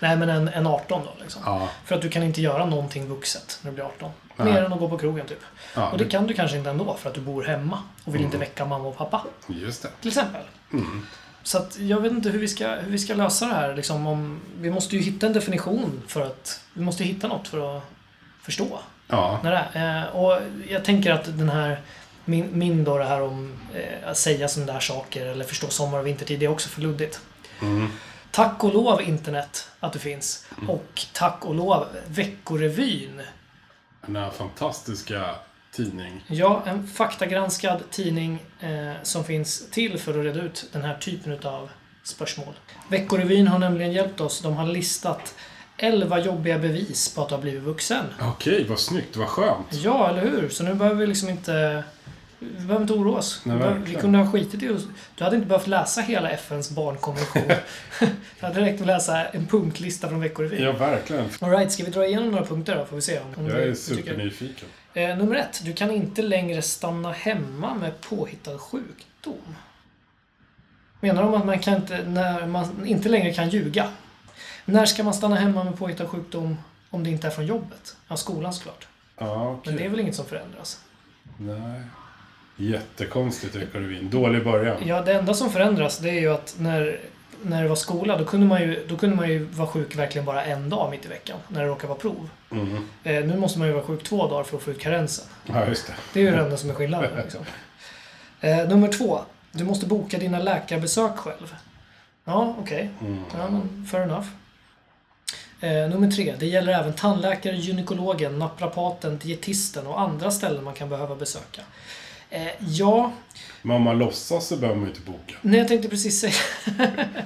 C: nej men en, en 18 då liksom.
B: ja.
C: För att du kan inte göra någonting vuxet när du blir 18.
B: Nej.
C: Mer än att gå på krogen typ.
B: ja Mm.
C: Och det kan du kanske inte ändå för att du bor hemma och vill inte väcka mamma och pappa.
B: Just det.
C: Till exempel.
B: Mm.
C: Så att jag vet inte hur vi ska, hur vi ska lösa det här. Liksom, om, vi måste ju hitta en definition för att... Vi måste hitta något för att förstå
B: Ja.
C: när det är. Eh, och jag tänker att den här... Min, min då det här om eh, att säga sådana där saker eller förstå sommar och vintertid, det är också för luddigt. Tack och lov internet att det finns. Och tack och lov Veckorevyn.
B: Den här fantastiska tidning.
C: Ja, en faktagranskad tidning eh, som finns till för att reda ut den här typen av spörsmål. Veckorevyn har nämligen hjälpt oss. De har listat 11 jobbiga bevis på att du har blivit vuxen.
B: Okej, vad snyggt. Vad skönt.
C: Ja, eller hur? Så nu behöver vi liksom inte... Vi behöver inte oroa oss.
B: Nej,
C: vi, behöver, vi
B: verkligen.
C: kunde ha skitit i oss. Du hade inte behövt läsa hela
B: [laughs]
C: FNs barnkonvention. det hade räckt att läsa en punktlista från Veckorevyn.
B: Ja, verkligen.
C: Alright, ska vi dra igenom några punkter då? Får vi se om, om
B: Jag
C: du-
B: är
C: du tycker-
B: supernyfiken.
C: Eh, nummer ett. Du kan inte längre stanna hemma med påhittad sjukdom. Menar de att man, kan inte, när man inte längre kan ljuga? När ska man stanna hemma med påhittad sjukdom om det inte är från jobbet? Ja, skolan såklart.
B: Ja,
C: Men
B: okej.
C: det är väl inget som förändras?
B: Nej. Jättekonstigt, Ekorvin. Dålig början.
C: Ja, det enda som förändras det är ju att när, när det var skola då kunde, man ju, då kunde man ju vara sjuk verkligen bara en dag mitt i veckan när det råkade vara prov.
B: Mm.
C: Eh, nu måste man ju vara sjuk två dagar för att få ut karensen.
B: Ja, just det.
C: Det är ju det enda som är skillnaden. Liksom. Eh, nummer två. Du måste boka dina läkarbesök själv. Ja, okej. Ja, men fair enough. Eh, nummer tre. Det gäller även tandläkare, gynekologen, naprapaten, dietisten och andra ställen man kan behöva besöka. Eh, ja,
B: Men om man låtsas så behöver man ju inte boka.
C: nej, jag tänkte precis säga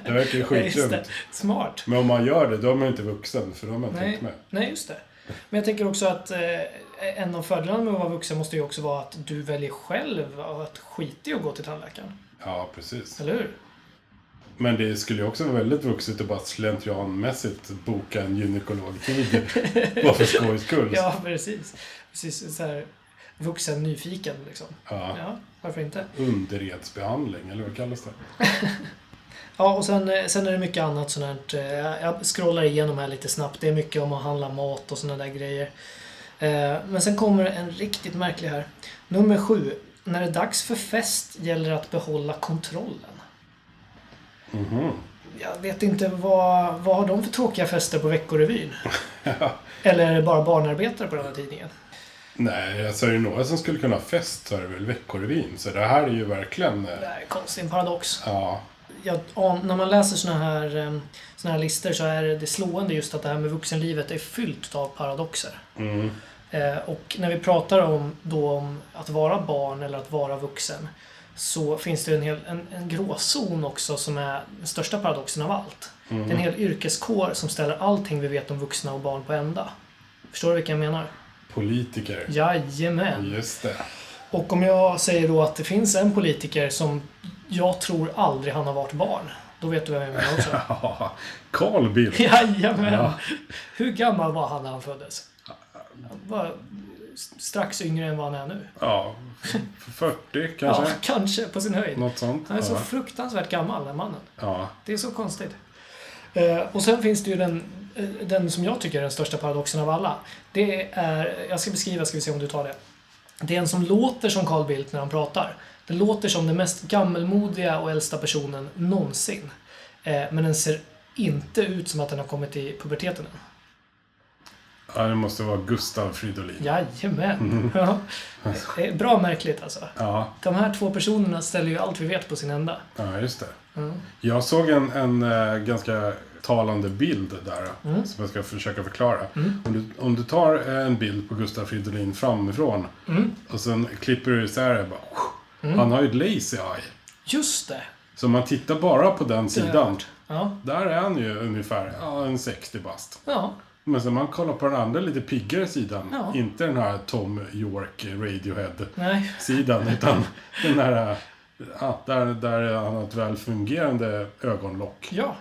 B: Det verkar ju
C: [laughs] Ja, just det.
B: skitdumt.
C: Smart.
B: Men om man gör det, då är man ju inte vuxen, för då har man inte
C: Nej,
B: hängt med.
C: nej, just det. Men jag tänker också att eh, en av fördelarna med att vara vuxen måste ju också vara att du väljer själv att skita i att gå till tandläkaren.
B: Ja, precis.
C: Eller hur?
B: Men det skulle ju också vara väldigt vuxet att bara slentrianmässigt boka en
C: [laughs]
B: gynekologtid. bara för skojs skull.
C: Ja, precis. Precis så här vuxen nyfiken liksom.
B: Ja.
C: Ja, varför inte?
B: Underredsbehandling, eller vad kallas det?
C: Ja, och sen, eh, sen är det mycket annat sånt här. eh, Jag scrollar igenom här lite snabbt. Det är mycket om att handla mat och såna där grejer. Eh, Men sen kommer en riktigt märklig här. Nummer sju. När det är dags för fest gäller det att behålla kontrollen.
B: Mhm.
C: Jag vet inte vad, vad har de för tråkiga fester på Veckorevyn? Eller är det bara barnarbetare på den här tidningen?
B: Nej, alltså är det några som skulle kunna ha fest så är det väl Veckorevyn. Så det här är ju verkligen... eh,
C: Det här är konstigt, en paradox.
B: Ja.
C: jag, an- när man läser såna här, em, såna här listor så är det slående just att det här med vuxenlivet är fyllt av paradoxer.
B: Mm.
C: Eh, och när vi pratar om, då om att vara barn eller att vara vuxen så finns det en, hel, en, en gråzon också som är den största paradoxen av allt. Det är en hel yrkeskår som ställer allting vi vet om vuxna och barn på ända. Förstår du vilka jag menar?
B: Politiker.
C: Jajamän!
B: Just det.
C: Och om jag säger då att det finns en politiker som jag tror aldrig han har varit barn. Då vet du vem jag menar också.
B: Ja, Carl Bildt.
C: Jajamän.
B: Ja.
C: Hur gammal var han när han föddes? Han var strax yngre än vad han är nu. [laughs]
B: Ja, f- 40
C: Ja,
B: kanske.
C: kanske på sin höjd.
B: Något sånt.
C: Han är så
B: ja.
C: fruktansvärt gammal, den mannen.
B: ja.
C: Det är så konstigt. Eh, och sen finns det ju den, eh, den som jag tycker är den största paradoxen av alla. Det är, jag ska beskriva, ska vi se om du tar det. Det är en som låter som Carl Bildt när han pratar. Det låter som den mest gammelmodiga och äldsta personen någonsin. Eh, men den ser inte ut som att den har kommit i puberteten än.
B: ja, det måste vara Gustav Fridolin.
C: Jajamän.
B: [laughs]
C: Ja. Det är Bra märkligt alltså.
B: Ja,
C: De här två personerna ställer ju allt vi vet på sin ända.
B: ja just det. Jag såg en, en eh, ganska talande bild där eh,
C: Mm.
B: som jag ska försöka förklara. Om, du, om du tar eh, en bild på Gustav Fridolin framifrån
C: Mm.
B: och sen klipper du isär det bara, Han har ju ett lazy eye.
C: Just det!
B: Så om man tittar bara på den
C: har jag
B: sidan.
C: Ja,
B: Där är han ju ungefär ja, en 60 bast.
C: ja.
B: Men sen man kollar på den andra lite piggare sidan.
C: Ja.
B: Inte den här Tom York Radiohead-sidan.
C: Nej.
B: Utan den här... Ja, där, där han har ett välfungerande ögonlock.
C: Ja.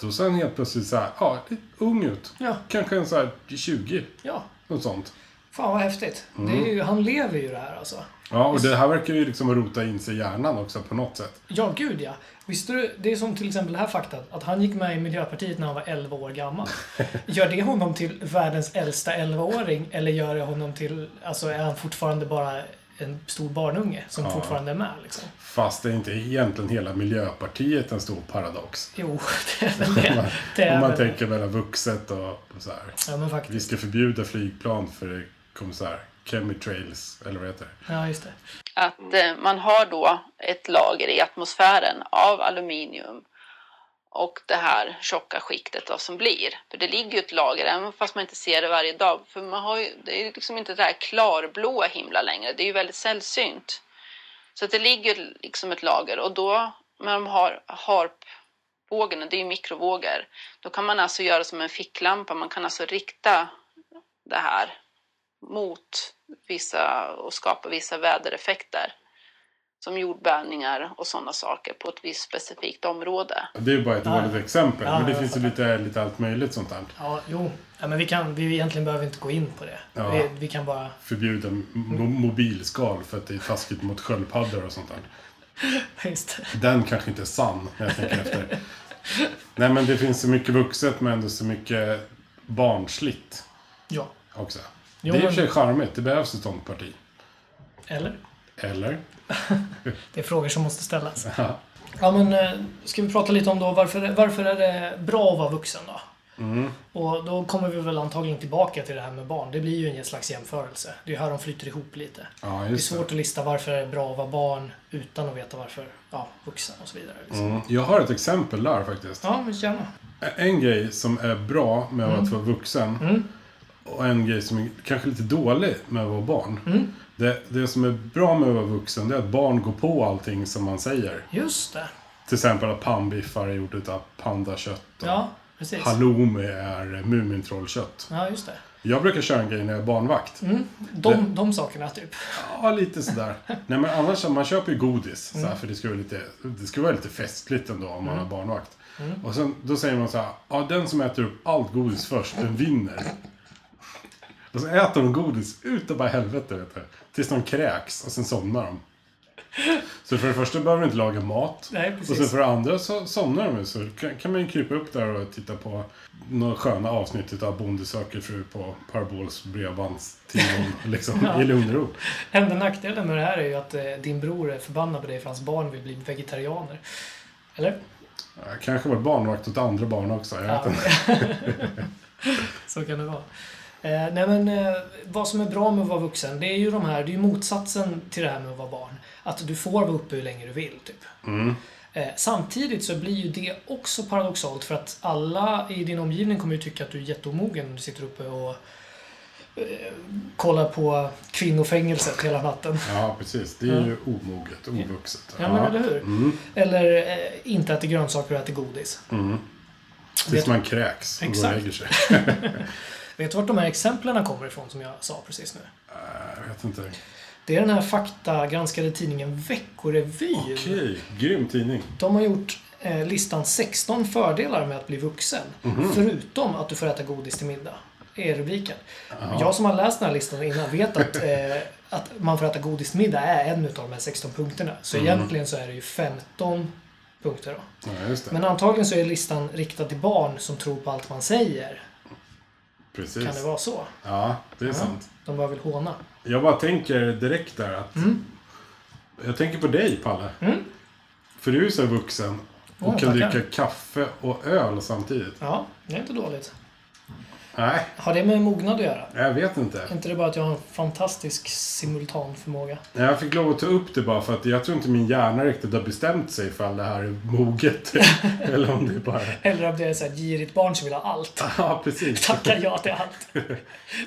B: Då ser han helt plötsligt så här, ja, lite ung ut.
C: Ja.
B: Kanske en så här 20,
C: Ja.
B: något sånt.
C: Fan vad häftigt. Det är
B: Mm.
C: ju, han lever ju det här alltså.
B: Ja, och det här verkar ju liksom rota in sig i hjärnan också på något sätt.
C: Ja, gud ja. Visste du, det är som till exempel det här faktat, att han gick med i Miljöpartiet när han var 11
B: [laughs]
C: år gammal. Gör det honom till världens äldsta 11-åring eller gör det honom till, alltså är han fortfarande bara en stor barnunge som
B: Ja.
C: fortfarande är med liksom?
B: Fast det är inte egentligen hela Miljöpartiet en stor paradox.
C: Jo, [laughs] det är väl det. det
B: Om
C: är
B: man
C: väl det.
B: tänker mellan vuxet och så här.
C: Ja, men faktiskt.
B: Vi ska förbjuda flygplan för det kommer så här chemitrails, eller vad heter det?
C: Ja, just det.
F: Att eh, man har då ett lager i atmosfären av aluminium och det här tjocka skiktet då som blir. För det ligger ju ett lager, även fast man inte ser det varje dag. För man har ju, det är ju liksom inte det här klarblåa himla längre. Det är ju väldigt sällsynt. Så att det ligger liksom ett lager och då när de har harpvågorna, det är ju mikrovågor, då kan man alltså göra som en ficklampa. Man kan alltså rikta det här mot vissa och skapa vissa vädereffekter. Som jordbävningar och sådana saker på ett visst specifikt område.
B: Det är bara ett
C: Ja.
B: dåligt exempel,
C: Ja,
B: men det
C: jag
B: finns ju lite, lite allt möjligt sånt där.
C: Ja, jo. Ja, men vi kan, vi egentligen behöver inte gå in på det.
B: Ja.
C: Vi, vi kan bara... [laughs]
B: Förbjuda mo- mobilskal för att det är taskigt mot sköldpaddor och sånt där.
C: Just det.
B: Den kanske inte är sann, när jag tänker
C: [laughs]
B: efter. Nej, men det finns så mycket vuxet, men ändå så mycket barnsligt
C: Ja.
B: också.
C: Jo,
B: det är i och
C: men-
B: för sig charmigt, det behövs ett sånt parti.
C: Eller?
B: Eller? [laughs]
C: Det är frågor som måste ställas.
B: Ja.
C: Ja, men eh, ska vi prata lite om då varför, varför är det bra att vara vuxen då?
B: Mm.
C: Och då kommer vi väl antagligen tillbaka till det här med barn. Det blir ju en slags jämförelse. Det är ju här de flyter ihop lite.
B: Ja,
C: Det är
B: just det.
C: svårt att lista varför är det bra att vara barn utan att veta varför, ja, vuxen och så vidare. Liksom.
B: Mm. Jag har ett exempel där faktiskt.
C: Ja, men gärna.
B: En grej som är bra med
C: Mm.
B: att vara vuxen och en grej som är kanske lite dålig med att vara barn.
C: Mm.
B: Det, det som är bra med att vara vuxen det är att barn går på allting som man säger.
C: Just det.
B: Till exempel att pannbiffar är gjort utav pandakött och
C: Ja, precis.
B: halloumi är mumintrollkött.
C: Ja, just det.
B: Jag brukar köra en grej när jag är barnvakt.
C: De, de sakerna, typ.
B: Ja, lite sådär. Nej, men annars, man köper ju godis. Så
C: Mm.
B: för det ska, vara lite, det ska vara lite festligt ändå om man har barnvakt.
C: Mm.
B: Och sen, då säger man så här, ja, den som äter upp allt godis först, den vinner. Och så äter de godis utav bara helvete, vet du. Tills de kräks och sen somnar de. Så för det första behöver du inte laga mat.
C: Nej,
B: och
C: precis.
B: sen för det andra så somnar de ju. Så kan, kan man ju krypa upp där och titta på några sköna avsnitt av Bonde söker fru på Parabols
C: [laughs]
B: bredbandstidning. Liksom, i lugn och ro.
C: Enda nackdelen med det här är ju att eh, din bror är förbannad på dig för hans barn vill bli vegetarianer. Eller?
B: Jag kanske var barnvakt åt andra barn också. Jag vet
C: Ja. [laughs]
B: inte.
C: Så kan det vara. Eh, nej men, eh, vad som är bra med att vara vuxen, det är ju de här, det är ju motsatsen till det här med att vara barn. Att du får vara uppe hur länge du vill, typ. Eh, samtidigt så blir ju det också paradoxalt för att alla i din omgivning kommer ju tycka att du är jätteomogen när du sitter uppe och eh, kollar på kvinnofängelset hela natten.
B: Ja, precis. Det är ju omoget, ovuxet.
C: Ja, men eller hur? Eller eh, inte äter grönsaker och äter godis.
B: Tills man kräks och går och
C: Exakt.
B: lägger sig.
C: Vet du vart de här exemplen kommer ifrån som jag sa precis nu?
B: Jag vet inte.
C: Det är den här faktagranskade tidningen Veckorevyn.
B: Okej, grym tidning.
C: De har gjort eh, listan 16 fördelar med att bli vuxen. Förutom att du får äta godis till middag. Är rubriken. Jag som har läst den här listan innan vet att, eh, att man får äta godis till middag är en utav de här 16 punkterna. Så egentligen så är det ju 15 punkter då.
B: Ja, just det.
C: Men antagligen så är listan riktad till barn som tror på allt man säger.
B: precis.
C: Kan det vara så?
B: Ja, det är sant.
C: De bara vill håna.
B: Jag bara tänker direkt där att...
C: Mm.
B: Jag tänker på dig, Palle. För du är ju så här vuxen och
C: Åh,
B: kan
C: tackar.
B: dricka kaffe och öl samtidigt.
C: Ja, det är inte dåligt.
B: Nej,
C: Har det med mognad att göra?
B: jag vet
C: Är
B: inte.
C: inte det bara att jag har en fantastisk simultanförmåga?
B: Jag fick lov att ta upp det bara för att jag tror inte min hjärna riktigt har bestämt sig ifall det här är moget. eller om det är bara...
C: Eller om det är så här girigt barn som vill ha allt.
B: Ja, precis.
C: Tackar ja till allt.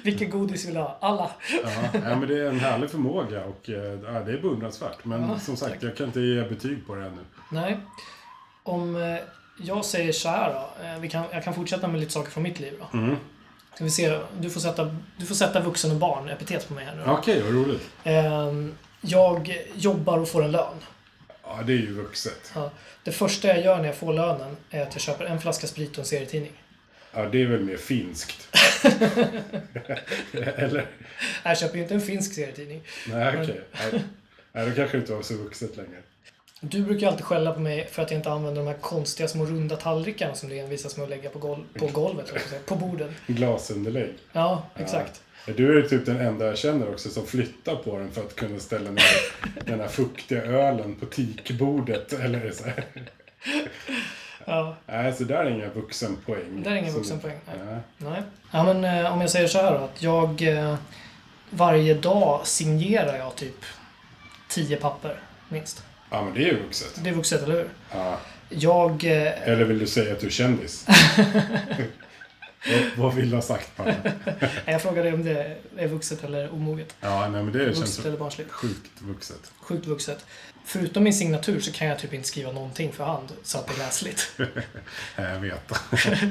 C: Vilket godis vill du ha? Alla.
B: Ja, nej, men det är en härlig förmåga och eh, ja, det är beundransvärt. Men som sagt, jag kan inte ge betyg på det ännu.
C: Nej. Om eh, jag säger så här då. eh, Vi kan, jag kan fortsätta med lite saker från mitt liv då. Ska vi se, du får sätta, du får sätta vuxen och barn epitet på mig här nu. då.
B: Okej, vad roligt.
C: Ehm, jag jobbar och får en lön.
B: Ja, det är ju vuxet.
C: Ja. Det första jag gör när jag får lönen är att jag köper en flaska sprit och en serietidning.
B: Ja, det är väl mer finskt. Eller?
C: Jag köper ju inte en finsk serietidning.
B: Nej, okej. Nej. Nej, då kanske det inte var så vuxet längre.
C: Du brukar ju alltid skälla på mig för att jag inte använder de här konstiga små runda tallrikarna som du envisas med att lägga på, gol- på golvet, höll jag på att säga, på bordet.
B: Glasunderlägg.
C: Ja, exakt.
B: Mm. Ja, Du är ju typ den enda jag känner också som flyttar på den för att kunna ställa
C: [laughs]
B: ner den här fuktiga ölen på tikbordet. Eller så här.
C: Ja.
B: Nej, så där är inga vuxenpoäng.
C: Där är ingen
B: Som-
C: vuxenpoäng, nej.
B: Nej.
C: Nej. Ja, men eh, om jag säger så här då, att jag eh, varje dag signerar jag typ 10 papper, minst.
B: Ja, men det är ju vuxet.
C: Det är vuxet, eller hur?
B: Ja.
C: Jag... Eh,
B: Eller vill du säga att du är
C: [laughs]
B: kändis? vad, vad vill du ha sagt på det?
C: jag frågade om det är vuxet eller omoget.
B: Ja, nej, men det
C: Vuxet
B: känns
C: eller barnsligt.
B: sjukt vuxet.
C: Sjukt vuxet. Förutom min signatur så kan jag typ inte skriva någonting för hand så att det
B: [laughs]
C: är läsligt.
B: Ja, Jag vet.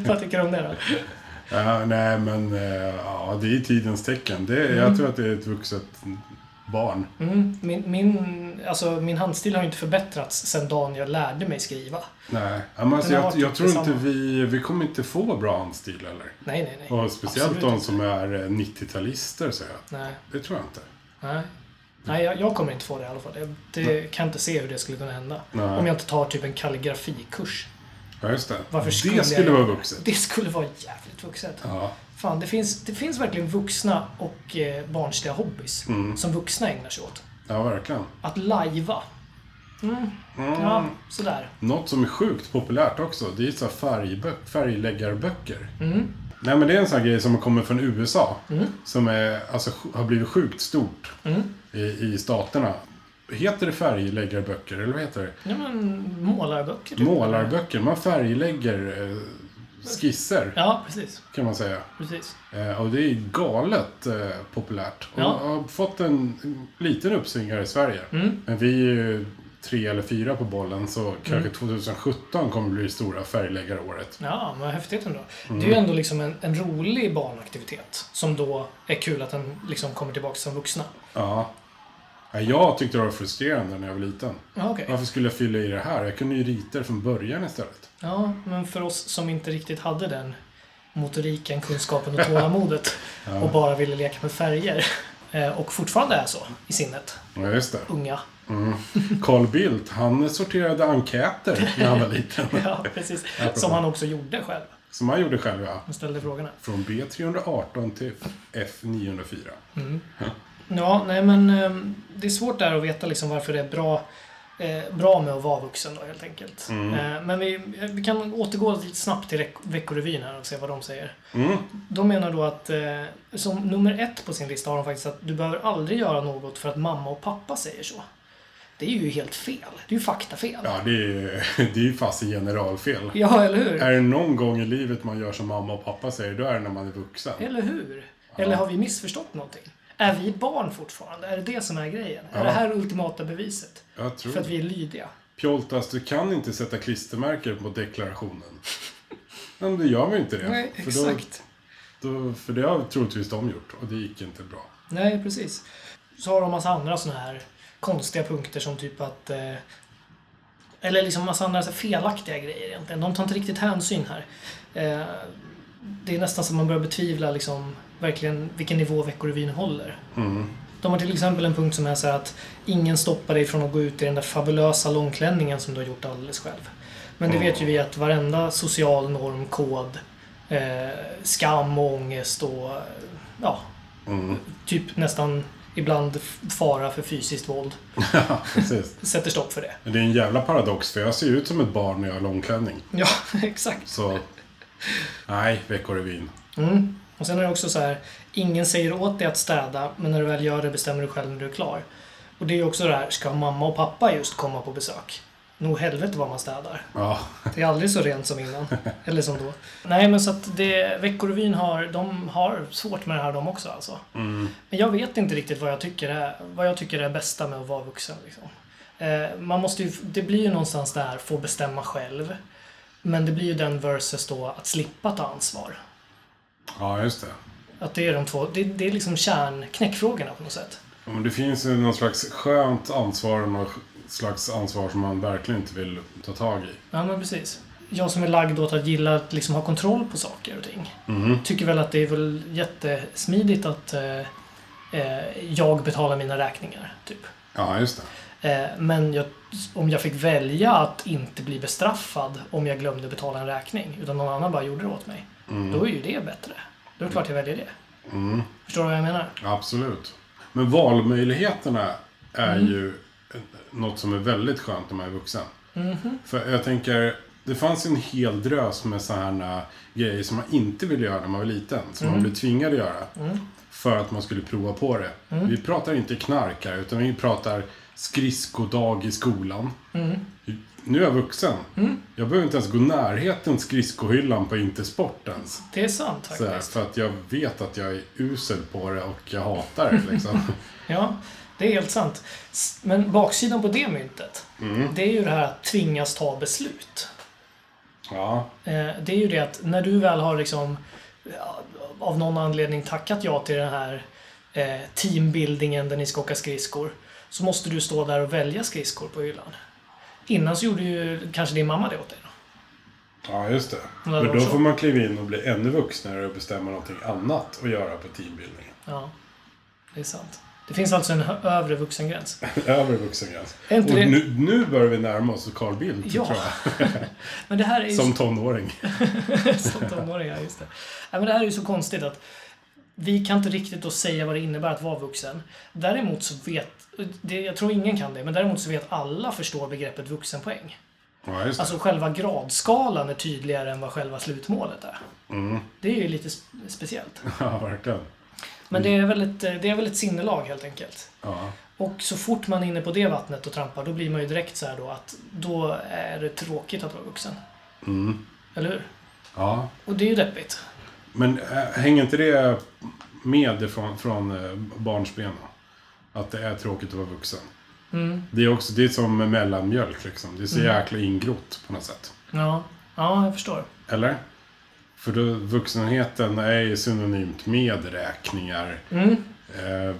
B: [laughs]
C: Vad tycker du om det då?
B: Ja, nej, men eh, ja, det är tidens tecken. Det, Jag tror att det är ett vuxet barn.
C: Mm, min, min, alltså, min handstil har ju inte förbättrats sedan dagen jag lärde mig skriva.
B: Nej, ja, men alltså,
C: Den har
B: jag,
C: varit
B: jag tror inte
C: detsamma.
B: vi, vi kommer inte få bra handstil eller.
C: Nej, nej, nej.
B: Och speciellt
C: Absolut
B: de
C: inte.
B: som är eh, 90-talister säger jag.
C: Nej,
B: Det tror jag inte.
C: nej. Nej, jag, jag kommer inte få det i alla fall. Jag det, kan inte se hur det skulle kunna hända.
B: Nej.
C: Om jag inte tar typ en kalligrafikurs.
B: Ja, just det.
C: Varför skulle
B: det
C: jag
B: skulle
C: göra
B: vara
C: det?
B: vuxet.
C: Det skulle vara jävligt vuxet.
B: Ja,
C: Fan, det finns, det finns verkligen vuxna och eh, barnsliga hobbys
B: Mm.
C: som vuxna ägnar sig åt.
B: ja, verkligen.
C: Att lajva. Mm. Ja, sådär.
B: Något som är sjukt populärt också, det är så här färgbö- färgläggarböcker.
C: Mm.
B: Nej men det är en sån här grej som kommer från USA. Som är, alltså, sj- har blivit sjukt stort
C: Mm.
B: i, i staterna. Heter det färgläggarböcker eller vad heter det?
C: Ja, men målarböcker. typ.
B: Målarböcker. Man färglägger eh, skisser
C: Ja, precis.
B: kan man säga.
C: precis.
B: Eh, och det är galet eh, populärt. Och
C: Ja.
B: har fått en liten uppsving här i Sverige. Men vi är ju tre eller fyra på bollen så kanske 2017 kommer bli det stora färgläggaråret.
C: Ja, men häftigt ändå. Det är ju ändå liksom en, en rolig barnaktivitet som då är kul att den liksom kommer tillbaka som vuxna.
B: Ja. Ja, Jag tyckte det var frustrerande när jag var liten.
C: Ja, okej.
B: Varför skulle jag fylla i det här? Jag kunde ju rita det från början istället.
C: Ja, men för oss som inte riktigt hade den motoriken, kunskapen och [laughs] tålamodet och bara ville leka med färger eh, och fortfarande är så i sinnet,
B: Ja, just det.
C: unga. [laughs]
B: Carl Bildt, han sorterade enkäter när han var liten.
C: Ja, precis. Som han också gjorde själv.
B: Som han gjorde själv, ja.
C: Han ställde frågorna.
B: Från B318 till F904.
C: Ja, nej men eh, det är svårt där att veta liksom varför det är bra, eh, bra med att vara vuxen då helt enkelt.
B: Mm.
C: Eh, men vi, vi kan återgå lite snabbt till Rek- Veckorevyn här och se vad de säger.
B: Mm.
C: De menar då att eh, som nummer ett på sin lista har de faktiskt att du behöver aldrig göra något för att mamma och pappa säger så. Det är ju helt fel. Det är ju faktafel.
B: Ja, det är, det är ju [laughs] fast generalfel.
C: Ja, eller hur?
B: Är det någon gång i livet man gör som mamma och pappa säger, då är det när man är vuxen.
C: Eller hur? Eller har vi missförstått någonting? Är vi barn fortfarande? Är det det som är grejen? Är det här ultimata beviset?
B: Jag tror
C: För att
B: det.
C: vi är lydiga?
B: Pjoltas, du kan inte sätta klistermärken på
C: [laughs]
B: deklarationen. Nej, men då gör vi inte det.
C: Nej,
B: för, då,
C: exakt.
B: då, för det har troligtvis de gjort och det gick inte bra.
C: Nej, precis. Så har de massa andra såna här konstiga punkter som typ att... Eh, eller liksom massa andra så här felaktiga grejer egentligen. De tar inte riktigt hänsyn här. Eh, det är nästan så att man börjar betvivla liksom verkligen vilken nivå Veckorevyn håller. De har till exempel en punkt som är så här att ingen stoppar dig från att gå ut i den där fabulösa långklänningen som du har gjort alldeles själv. Men det vet ju vi att varenda social norm, kod, eh, skam och ångest och eh, ja, typ nästan ibland f- fara för fysiskt våld
B: Ja, precis.
C: sätter stopp för det.
B: Men det är en jävla paradox, för jag ser ut som ett barn när jag har långklänning.
C: Ja, [laughs] exakt. [laughs]
B: Så... Nej, Veckorevyn.
C: Och sen är det också så här, ingen säger åt dig att städa, men när du väl gör det bestämmer du själv när du är klar. Och det är ju också det här, ska mamma och pappa just komma på besök? Nog helvete vad man städar.
B: Ja,
C: Det är aldrig så rent som innan. Eller som då. Nej, men så att det, Veckorevyn har, de har svårt med det här de också alltså. Men jag vet inte riktigt vad jag tycker är, vad jag tycker är bästa med att vara vuxen. Liksom. Eh, man måste ju, det blir ju någonstans där få bestämma själv. Men det blir ju den versus då att slippa ta ansvar.
B: Ja, just det.
C: Att det är de två, det, det är liksom kärnknäckfrågorna på något sätt.
B: Ja, Men det finns ju någon slags skönt ansvar och någon slags ansvar som man verkligen inte vill ta tag i.
C: Ja, men precis. Jag som är lagd åt att gilla att liksom ha kontroll på saker och ting. Tycker väl att det är väl jättesmidigt att eh, eh, jag betalar mina räkningar, typ.
B: Ja, just det.
C: Eh, men jag, om jag fick välja att inte bli bestraffad om jag glömde betala en räkning, utan någon annan bara gjorde det åt mig. Då är ju det bättre. Då är det klart jag väljer det. Förstår du vad jag menar?
B: Absolut. Men valmöjligheterna är ju något som är väldigt skönt när man är vuxen. För jag tänker, det fanns ju en hel drös med sådana grejer som man inte ville göra när man var liten. Som man blev tvingad att göra. För att man skulle prova på det. Vi pratar inte knark här, utan vi pratar skridskodag i skolan. Nu är jag vuxen. Jag behöver inte ens gå närheten skridskohyllan på Intersport ens.
C: Det är sant
B: Så här,
C: faktiskt.
B: Eh, för att jag vet att jag är usel på det och jag hatar det
C: [laughs]
B: liksom.
C: Ja, det är helt sant. S- Men baksidan på det myntet, det är ju det här att tvingas ta beslut.
B: Ja,
C: Eh, Det är ju det att när du väl har liksom ja, av någon anledning tackat ja till den här eh, teambuildingen där ni ska åka skridskor så måste du stå där och välja skridskor på hyllan. Innan så gjorde ju kanske din mamma det åt dig. Då.
B: ja just det.
C: det
B: Men
C: var
B: då
C: så.
B: får man kliva in och bli ännu vuxnare och bestämma någonting annat att göra på teambildningen. [laughs]
C: Ja, det är sant. Det finns alltså en hö- övre vuxengräns.
B: Över vuxengräns.
C: Är
B: Och
C: inte det-
B: nu, nu börjar vi närma oss Carl Bildt,
C: Ja.
B: tror jag.
C: [laughs] Men det här är ju
B: Som
C: [laughs]
B: tonåring.
C: Som tonåringar, just det. Nej, men det här är ju så konstigt att vi kan inte riktigt då säga vad det innebär att vara vuxen. Däremot så vet, det, jag tror ingen kan det, men däremot så vet alla förstår begreppet vuxenpoäng.
B: Ja, just det.
C: Alltså själva gradskalan är tydligare än vad själva slutmålet är. Det är ju lite sp- speciellt.
B: Ja, verkligen.
C: Men det är, väl ett, det är väl ett sinnelag helt enkelt.
B: Ja.
C: Och så fort man är inne på det vattnet och trampar, då blir man ju direkt så här då att då är det tråkigt att vara vuxen. Eller hur?
B: ja.
C: Och det är ju deppigt.
B: Men äh, hänger inte det med från, från äh, barnsbenen? Att det är tråkigt att vara vuxen.
C: Mm.
B: Det är också, det är som mellanmjölk liksom. Det är så jäkla ingrott på något sätt.
C: Ja, ja jag förstår.
B: Eller? För då, vuxenheten är ju synonymt med räkningar,
C: Mm.
B: eh,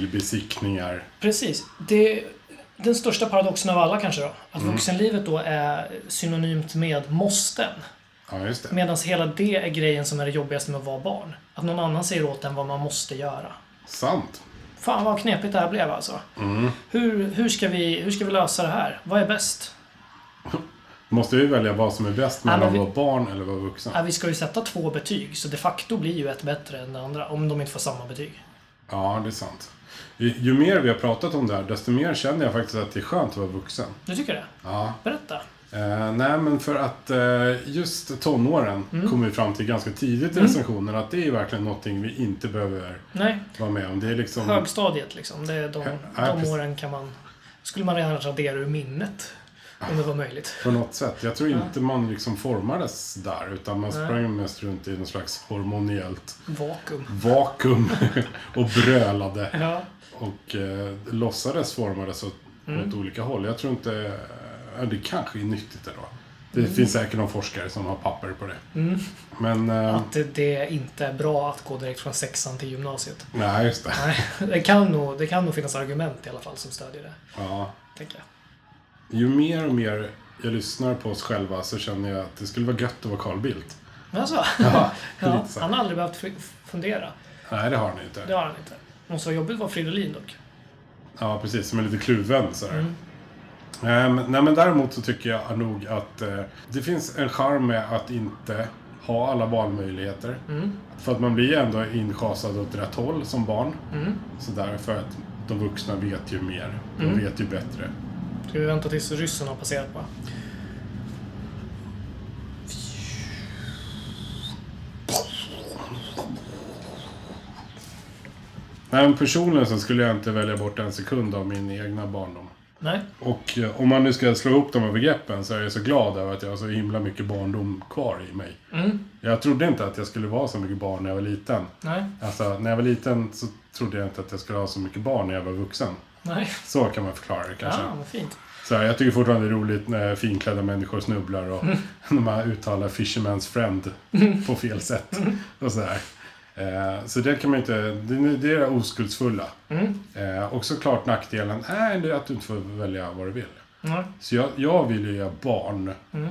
B: bilbesiktningar.
C: Precis. Det, den största paradoxen av alla kanske då. Att vuxenlivet då är synonymt med måsten.
B: Ja, just det.
C: Medan hela det är grejen som är det jobbigaste med att vara barn. Att någon annan säger åt en vad man måste göra.
B: Sant.
C: Fan vad knepigt det här blev alltså. Hur, hur, ska vi, hur ska vi lösa det här? Vad är bäst?
B: Måste vi välja vad som är bäst
C: Ja, men
B: mellan att
C: vi-
B: vara barn eller vara vuxen?
C: Ja, Äh, vi ska ju sätta två betyg, så de facto blir ju ett bättre än det andra. Om de inte får samma betyg.
B: Ja, det är sant. Ju, ju mer vi har pratat om det här, desto mer känner jag faktiskt att det är skönt att vara vuxen.
C: Du tycker det?
B: Ja.
C: Berätta.
B: Eh, nej, men för att eh, just tonåren kom vi fram till ganska tidigt i recensionen att det är verkligen någonting vi inte behöver
C: Nej,
B: vara med om. Det är liksom...
C: högstadiet liksom. Det är de,
B: Ja,
C: de
B: precis.
C: åren kan man... Skulle man redan radera ur minnet. Om det var möjligt.
B: På något sätt. Jag tror inte man liksom formades där, utan man sprang mest runt i någon slags hormoniellt
C: Vakuum.
B: vakuum [laughs] och brölade.
C: Ja.
B: Och eh, låtsades formades åt, åt olika håll. Jag tror inte... Eh, det kanske är nyttigt ändå. Det finns säkert någon forskare som har papper på det. Men... Eh,
C: Att det, det inte är bra att gå direkt från sexan till gymnasiet. [laughs]
B: nej, just det.
C: Nej, det kan nog, det kan nog finnas argument i alla fall som stödjer det.
B: Ja.
C: Tänker jag.
B: Ju mer och mer jag lyssnar på oss själva så känner jag att det skulle vara gött att vara Carl Bildt.
C: Men alltså,
B: [laughs] Ja,
C: [laughs] ja,
B: lite så.
C: han har aldrig behövt fri- fundera.
B: Nej, det har ni inte.
C: Det har han inte. Måste vara jobbigt att vara Fridolin dock.
B: Ja, precis. Som är lite kluven sådär. Ehm, nej, men däremot så tycker jag nog att eh, det finns en charm med att inte ha alla valmöjligheter. För att man blir ju ändå inschasad åt rätt håll som barn. Sådär, för att de vuxna vet ju mer. De vet ju bättre.
C: Ska vi vänta tills ryssen har passerat bara?
B: Nej, men personligen så skulle jag inte välja bort en sekund av min egna barndom.
C: Nej.
B: Och eh, om man nu ska slå ihop de här begreppen så är jag så glad över att jag har så himla mycket barndom kvar i mig.
C: Mm.
B: Jag trodde inte att jag skulle vara så mycket barn när jag var liten.
C: Nej.
B: Alltså, när jag var liten så trodde jag inte att jag skulle ha så mycket barn när jag var vuxen.
C: Nej.
B: Så kan man förklara det kanske.
C: Ja, vad fint.
B: Så här, jag tycker fortfarande det är roligt när finklädda människor snubblar och
C: Mm.
B: [laughs] när man uttalar fisherman's friend på fel sätt.
C: Mm.
B: Och så, här. Eh, så det kan man inte, det, det är det oskuldsfulla.
C: Mm.
B: Eh, och såklart nackdelen är det att du inte får välja vad du vill.
C: Nej.
B: Så jag, jag vill ju ge barn
C: Mm.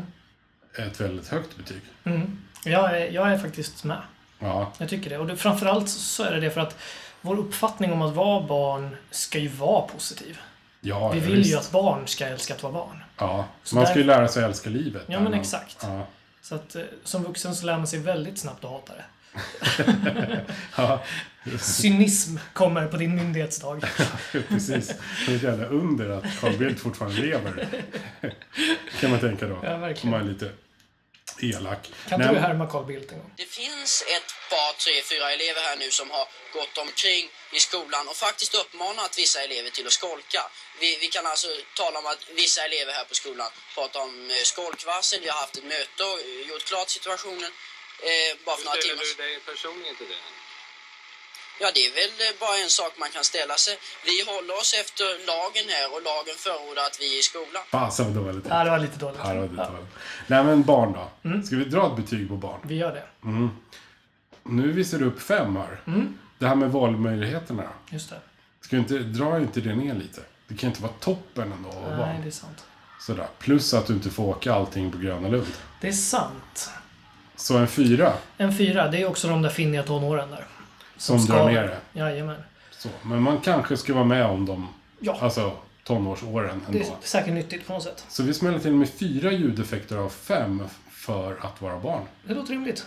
B: ett väldigt högt betyg.
C: Mm. Jag, är, jag är faktiskt med.
B: Ja,
C: Jag tycker det. Och det, framförallt så- så är det det för att vår uppfattning om att vara barn ska ju vara positiv.
B: ja
C: Vi
B: ja,
C: vill
B: visst.
C: ju att barn ska älska att vara barn.
B: Ja,
C: Så
B: man ska
C: där-
B: ju lära sig älska livet.
C: Ja,
B: när
C: men
B: man-
C: exakt.
B: Ja.
C: Så att eh, som vuxen så lär man sig väldigt snabbt att hata det.
B: [laughs] Ja,
C: Cynism kommer på din myndighetsdag.
B: precis. Det är ett jävla under att Carl Bildt fortfarande lever. kan man tänka då.
C: Ja, verkligen.
B: Om man är lite elak.
C: Kan
B: Nej,
C: du härma Carl Bildt en gång?
G: Det finns ett par, tre, fyra elever här nu som har gått omkring i skolan och faktiskt uppmanat vissa elever till att skolka. Vi, vi kan alltså tala om att vissa elever här på skolan pratar om eh, skolkvarsel. Vi har haft ett möte och eh, gjort klart situationen eh, bara för några
H: Hur
G: timmar
H: ställer
G: sedan.
H: du dig personligen till det?
G: Ja, det är väl eh, bara en sak man kan ställa sig. Vi håller oss efter lagen här och lagen förordar att vi är i skolan.
B: Fasen vad dåligt.
C: Ja, det var lite dåligt.
B: Här har du
C: Ja, Mm.
B: talat. Nej men barn då. Ska vi dra ett betyg på barn?
C: vi gör det.
B: Nu visar du upp fem här.
C: Mm.
B: Det här med valmöjligheterna då.
C: Just det.
B: Ska du inte, dra inte det ner lite? Det kan ju inte vara toppen ändå att vara
C: Nej,
B: barn.
C: det är sant.
B: Sådär. Plus att du inte får åka allting på Gröna Lund.
C: Det är sant.
B: Så en fyra
C: En fyra, det är också de där finniga tonåren där.
B: som
C: ska-
B: drar ner det.
C: Jajamän.
B: Så. Men man kanske ska vara med om dem,
C: Ja.
B: alltså tonårsåren ändå.
C: Det är säkert nyttigt på något sätt.
B: Så vi smäller till med fyra ljudeffekter av fem för att vara barn.
C: Det låter rimligt.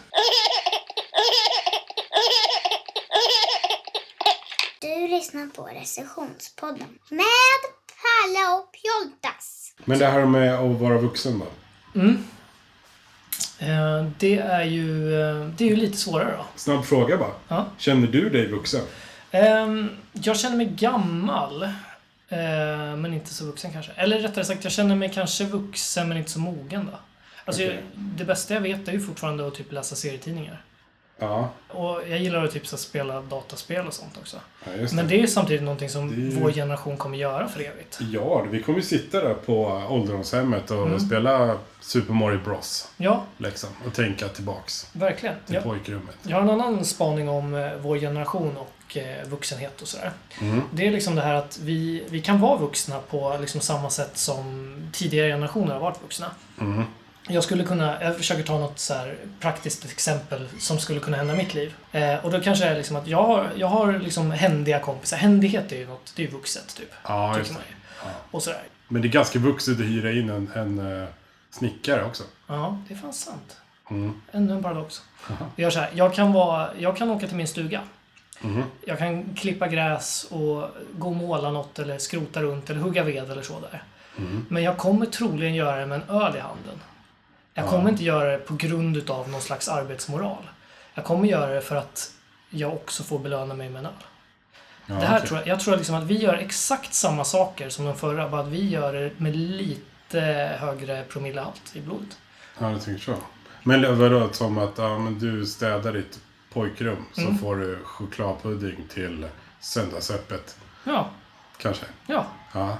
E: Du lyssnar på recensionspodden med Palle och Pjoltas.
B: Men det här med att vara vuxen då?
C: Eh, Det är ju, eh, det är ju lite svårare då.
B: Snabb fråga bara.
C: Ja.
B: Känner du dig vuxen?
C: Ehm, Jag känner mig gammal. eh, Men inte så vuxen kanske. Eller rättare sagt, jag känner mig kanske vuxen men inte så mogen då. Alltså,
B: Okej.
C: jag- det bästa jag vet är ju fortfarande att typ läsa serietidningar.
B: Ja,
C: Och jag gillar att typ så här spela dataspel och sånt också.
B: ja just det.
C: Men det är ju samtidigt någonting som
B: är ju-
C: vår generation kommer göra för evigt.
B: Ja, vi kommer ju sitta där på ålderdomshemmet och
C: Mm.
B: spela Super Mario Bros.
C: Ja,
B: Liksom, och tänka tillbaks
C: verkligen.
B: till
C: Jag,
B: pojkrummet.
C: jag har en annan spaning om eh, vår generation och eh, vuxenhet och sådär.
B: Mm.
C: Det är liksom det här att vi, vi kan vara vuxna på liksom samma sätt som tidigare generationer har varit vuxna.
B: Mm.
C: Jag skulle kunna, jag försöker ta något så här praktiskt exempel som skulle kunna hända i mitt liv. Eh, och då kanske det är liksom att jag har, jag har liksom händiga kompisar. Händighet är ju något, det är ju vuxet typ.
B: Ja, just
C: tycker
B: det.
C: man ju. Och sådär.
B: Men det är ganska vuxet att hyra in en, en eh, snickare också.
C: Ja, det är fan sant.
B: Mm.
C: Ännu en paradox. Jag gör så här, jag kan, vara, jag kan åka till min stuga.
B: Mm-hmm.
C: Jag kan klippa gräs och gå och måla något eller skrota runt eller hugga ved eller så där.
B: Mm-hmm.
C: Men jag kommer troligen göra det med en öl i handen. Jag kommer inte göra det på grund utav någon slags arbetsmoral. Jag kommer göra det för att jag också får belöna mig med en öl.
B: Ja,
C: Det här
B: okej.
C: tror jag, jag tror liksom att vi gör exakt samma saker som de förra, bara att vi gör det med lite högre promillehalt i blodet.
B: Ja, jag tänker så. Men vadå, som att ja, men du städar ditt pojkrum så
C: Mm.
B: får du chokladpudding till söndagsöppet,
C: Ja,
B: kanske.
C: ja.
B: Ja.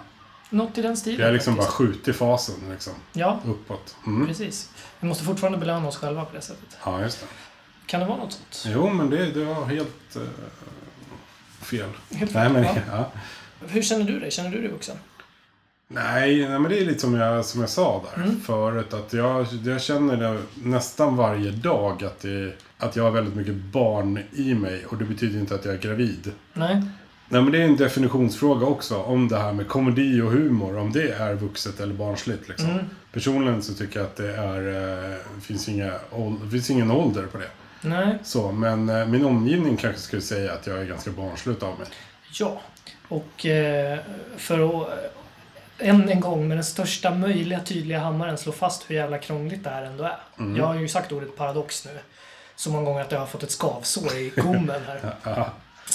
C: Något i den stilen.
B: Vi har liksom bara
C: faktiskt.
B: skjutit fasen liksom,
C: Ja,
B: uppåt. Mm.
C: precis. Vi måste fortfarande belöna oss själva på det sättet.
B: Ja, just det.
C: Kan det vara något sånt?
B: Jo, men det, det var helt eh, fel.
C: Helt
B: Nej,
C: fel,
B: men,
C: ja.
B: [laughs] ja.
C: Hur känner du dig? Känner du dig vuxen?
B: Nej, nej, men det är lite som jag, som jag sa där
C: Mm.
B: förut. Att jag, jag känner det nästan varje dag att, det, att jag har väldigt mycket barn i mig. Och det betyder inte att jag är gravid.
C: Nej.
B: Nej men det är en definitionsfråga också. Om det här med komedi och humor, om det är vuxet eller barnsligt liksom. Personligen så tycker jag att det är, eh, finns, inga, ål- det finns ingen ålder på det.
C: Nej.
B: Så, men eh, min omgivning kanske skulle säga att jag är ganska barnsligt av mig.
C: Ja. Och eh, för att eh, än en gång med den största möjliga tydliga hammaren slå fast hur jävla krångligt det här ändå är.
B: Mm.
C: Jag har ju sagt ordet paradox nu så många
B: [laughs]
C: gånger att jag har fått ett skavsår i gommen här.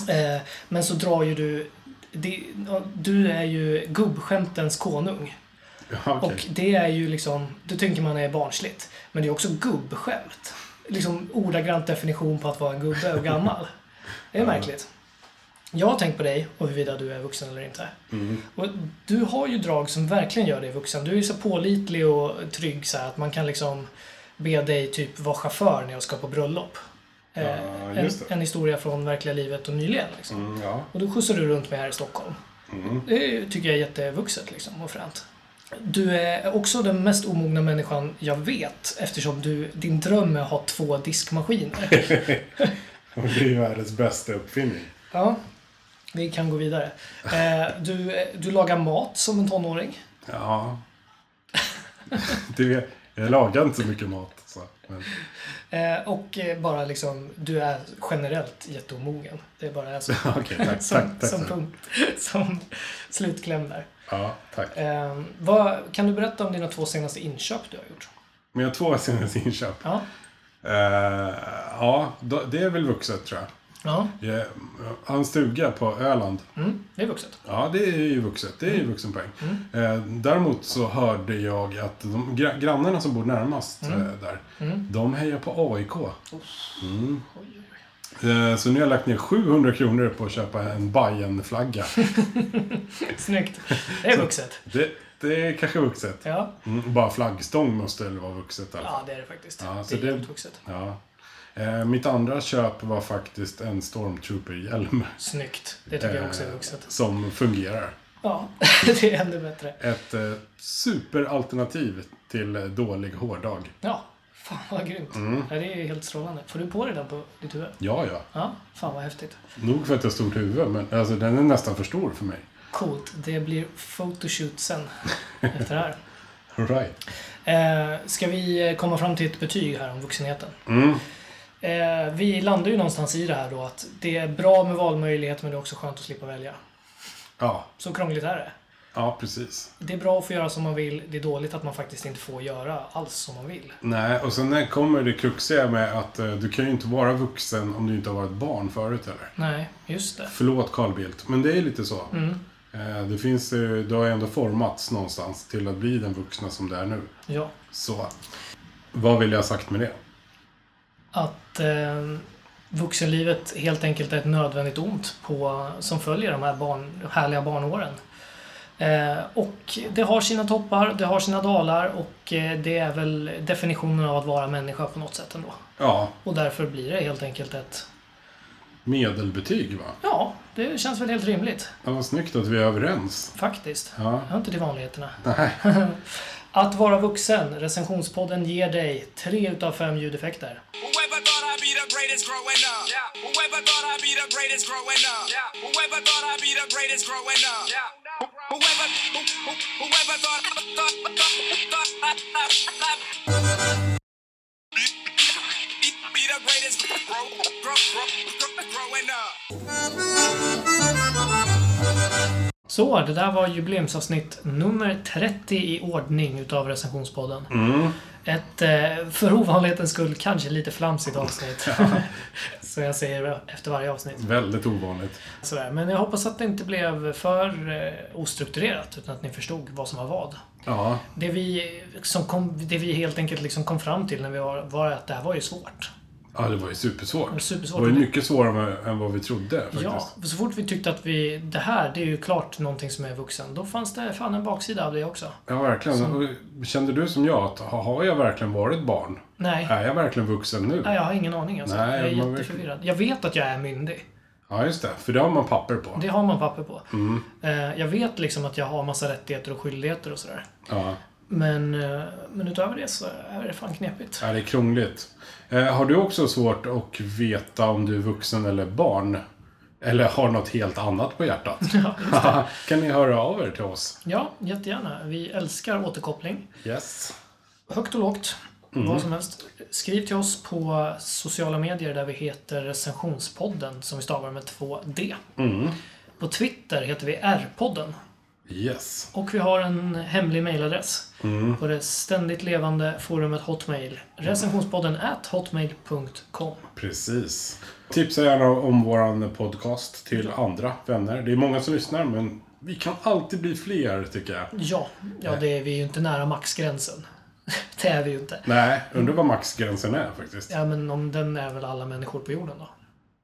C: Eh, Men så drar ju du det, ja, du är ju gubbskämtens konung.
B: Ja, okej.
C: Och det är ju liksom, det tänker man är barnsligt. Men det är också gubbskämt. Liksom ordagrant definition på att vara en gubbe
B: [laughs]
C: och gammal. Det är märkligt. Jag har tänkt på dig och huruvida du är vuxen eller inte.
B: Mm.
C: Och du har ju drag som verkligen gör dig vuxen. Du är ju så pålitlig och trygg så här att man kan liksom be dig typ vara chaufför när jag ska på bröllop. Eh,
B: Ja,
C: en,
B: just det.
C: en historia från verkliga livet och nyligen. Liksom.
B: Mm, ja.
C: Och då skjutsar du runt mig här i Stockholm.
B: Mm.
C: Det tycker jag är jättevuxet liksom och fränt. Du är också den mest omogna människan jag vet eftersom du, din dröm är att ha
B: [laughs]
C: två diskmaskiner.
B: Och det är ju världens bästa uppfinning.
C: ja, vi kan gå vidare. Eh, du, du lagar mat som en tonåring.
B: Ja. [laughs] det vet, jag lagar inte så mycket mat. Så, men,
C: Eh, och eh, bara liksom, du är generellt jätteomogen. Det är
B: [laughs]
C: bara så.
B: okej,
C: [laughs]
B: tack.
C: som,
B: tack, tack,
C: som
B: tack.
C: punkt. [laughs] Som slutkläm där.
B: Ja, tack.
C: Eh, vad, kan du berätta om dina två senaste inköp du har gjort?
B: Men jag har två [laughs] senaste inköp.
C: Ja.
B: Eh, ja, då- det är väl vuxet tror jag.
C: Ja,
B: Jag har en stuga på Öland.
C: mm, det är vuxet.
B: Ja, det är ju vuxet. Det är ju vuxenpoäng. Eh, däremot så hörde jag att de gra- grannarna som bor närmast eh, där, de hejar på AIK. Mm. Eh, så nu har jag lagt ner 700 kronor på att köpa en Bayern-flagga.
C: Snyggt. Det är vuxet.
B: det, det är kanske vuxet.
C: Ja,
B: Mm, bara flaggstång måste väl vara vuxet i alla fall.
C: ja det är det faktiskt.
B: Ja, så
C: det är
B: det-
C: jävligt vuxet.
B: Ja. Eh, mitt andra köp var faktiskt en Stormtrooper-hjälm.
C: Snyggt. Det tycker jag också är
B: eh,
C: vuxet.
B: Som fungerar.
C: Ja, [laughs] det är ännu bättre.
B: ett eh, superalternativ till eh, dålig hårdag.
C: Ja, fan vad grymt.
B: Mm.
C: Ja, det är ju helt strålande. Får du på dig den på ditt huvud?
B: Ja, ja.
C: Ja, fan vad häftigt.
B: Nog för att jag har stort huvud, men alltså, den är nästan för stor för mig.
C: Coolt. Det blir
B: [laughs]
C: photoshoot sen efter det här.
B: All Right.
C: Eh, ska vi komma fram till ett betyg här om vuxenheten?
B: Mm.
C: Eh, vi landar ju någonstans i det här då att det är bra med valmöjlighet men det är också skönt att slippa välja.
B: Ja.
C: Så krångligt är det.
B: ja, precis.
C: Det är bra att få göra som man vill. Det är dåligt att man faktiskt inte får göra alls som man vill.
B: Nej, och sen eh, kommer det kruxiga med att eh, du kan ju inte vara vuxen om du inte har varit barn förut heller.
C: Nej, just det.
B: Förlåt Carl Bildt, men det är lite så. Eh, det finns, eh, du har ju ändå formats någonstans till att bli den vuxna som du är nu.
C: Ja.
B: Så, vad vill jag ha sagt med det?
C: Att eh, vuxenlivet helt enkelt är ett nödvändigt ont på, som följer de här barn, härliga barnåren. Eh, och det har sina toppar, det har sina dalar och eh, det är väl definitionen av att vara människa på något sätt ändå.
B: Ja,
C: Och därför blir det helt enkelt ett...
B: medelbetyg va?
C: Ja, det känns väl helt rimligt
B: Ja, vad snyggt att vi är överens.
C: faktiskt.
B: Ja.
C: Jag hör inte till vanligheterna.
B: Nej.
C: [laughs] Att vara vuxen, recensionspodden ger dig 3 utav 5 ljudeffekter.
D: Whoever thought I'd be the greatest growing up. Yeah. Whoever thought I'd be the greatest growing up. Yeah. Whoever thought I'd be the greatest growing up. Yeah. Whoever, who, who, whoever thought, thought, thought, thought, thought, thought, thought be, be, be the greatest grow, grow, grow, grow, growing up.
C: Så, det där var jubileumsavsnitt nummer 30 i ordning utav recensionspodden. Ett eh, för ovanlighetens skull kanske lite flamsigt avsnitt. [laughs] Så jag säger efter varje avsnitt.
B: Väldigt ovanligt.
C: Sådär. Men jag hoppas att det inte blev för eh, ostrukturerat utan att ni förstod vad som var vad.
B: Ja,
C: Det vi, som kom, det vi helt enkelt liksom kom fram till när vi var, var att det här var ju svårt.
B: ja det var ju supersvårt. Det
C: var
B: var,
C: supersvårt.
B: ju mycket svårare än vad vi trodde faktiskt.
C: Ja, för så fort vi tyckte att vi, det här, det är ju klart någonting som är vuxen. Då fanns det fan en baksida av det också.
B: Ja, verkligen. Och Kände du som jag att ha- har jag verkligen varit barn?
C: Nej.
B: Är jag verkligen vuxen nu?
C: Nej, jag har ingen aning alltså.
B: Äh. Nej,
C: jag är
B: man
C: jätteförvirrad. Jag vet att jag är myndig.
B: Ja, just det. För det har man papper på.
C: Det har man papper på.
B: Mm.
C: Eh, Jag vet liksom att jag har massa rättigheter och skyldigheter och sådär.
B: Ja.
C: Men, eh, men utöver det så är det fan knepigt.
B: ja, det är krångligt. Eh, har du också svårt att veta om du är vuxen eller barn? Eller har något helt annat på hjärtat? [laughs] kan ni höra av er till oss?
C: Ja, jättegärna. Vi älskar återkoppling.
B: Yes.
C: Högt och lågt.
B: Mm.
C: Vad som helst. Skriv till oss på sociala medier där vi heter
B: Mm.
C: recensionspodden som vi stavar med två D. På Twitter heter vi R-podden.
B: Yes.
C: Och vi har en hemlig mailadress
B: Mm.
C: på det ständigt levande forumet Hotmail. Recensionspodden at hotmail.com.
B: Precis. Tipsa gärna om våran podcast till andra vänner. Det är många som lyssnar, men vi kan alltid bli fler, tycker jag.
C: Ja, ja det är vi ju inte nära maxgränsen. [laughs] det är vi ju inte.
B: Nej, undrar vad maxgränsen är faktiskt.
C: Ja, men om den är väl alla människor på jorden då?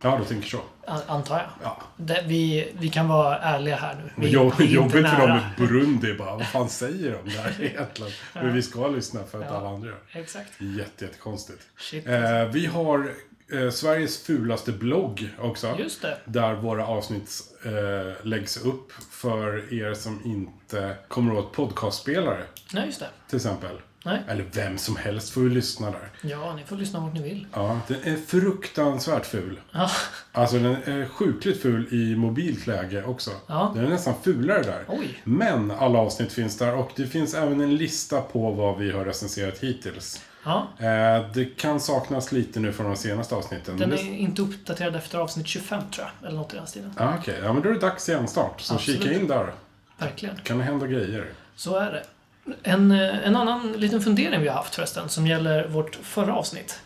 B: Ja, du tänker så.
C: A- Antar jag.
B: Ja.
C: Det, vi, vi kan vara ärliga här nu.
B: Men
C: Vi,
B: jobb,
C: vi är inte
B: jobbigt för dem
C: nära.
B: i Burundi bara. Vad fan säger de där [laughs] egentligen? Men vi ska lyssna för att alla andra gör
C: Exakt.
B: det. Jätte, jättekonstigt.
C: Shit.
B: Eh, vi har eh, Sveriges fulaste blogg också.
C: Just det.
B: Där våra avsnitt eh, läggs upp för er som inte kommer åt podcastspelare,
C: Nej, just det.
B: till exempel.
C: Nej.
B: Eller vem som helst får ju lyssna där.
C: Ja, ni får lyssna vart ni vill.
B: Ja, den är fruktansvärt ful.
C: Ja,
B: Alltså den är sjukligt ful i mobilt läge också.
C: Ja.
B: Den är nästan fulare där.
C: Oj.
B: Men alla avsnitt finns där och det finns även en lista på vad vi har recenserat hittills.
C: ja.
B: Eh, det kan saknas lite nu från de senaste avsnitten.
C: Den
B: men
C: är
B: det-
C: inte uppdaterad efter avsnitt 25 tror jag. Eller något i den stilen.
B: Ah, Okej, ja men då är det dags igen snart. Så
C: Absolut.
B: kika in där.
C: Verkligen.
B: Kan det hända grejer?
C: Så är det. En, eh, en annan liten fundering vi har haft förresten, som gäller vårt förra avsnitt,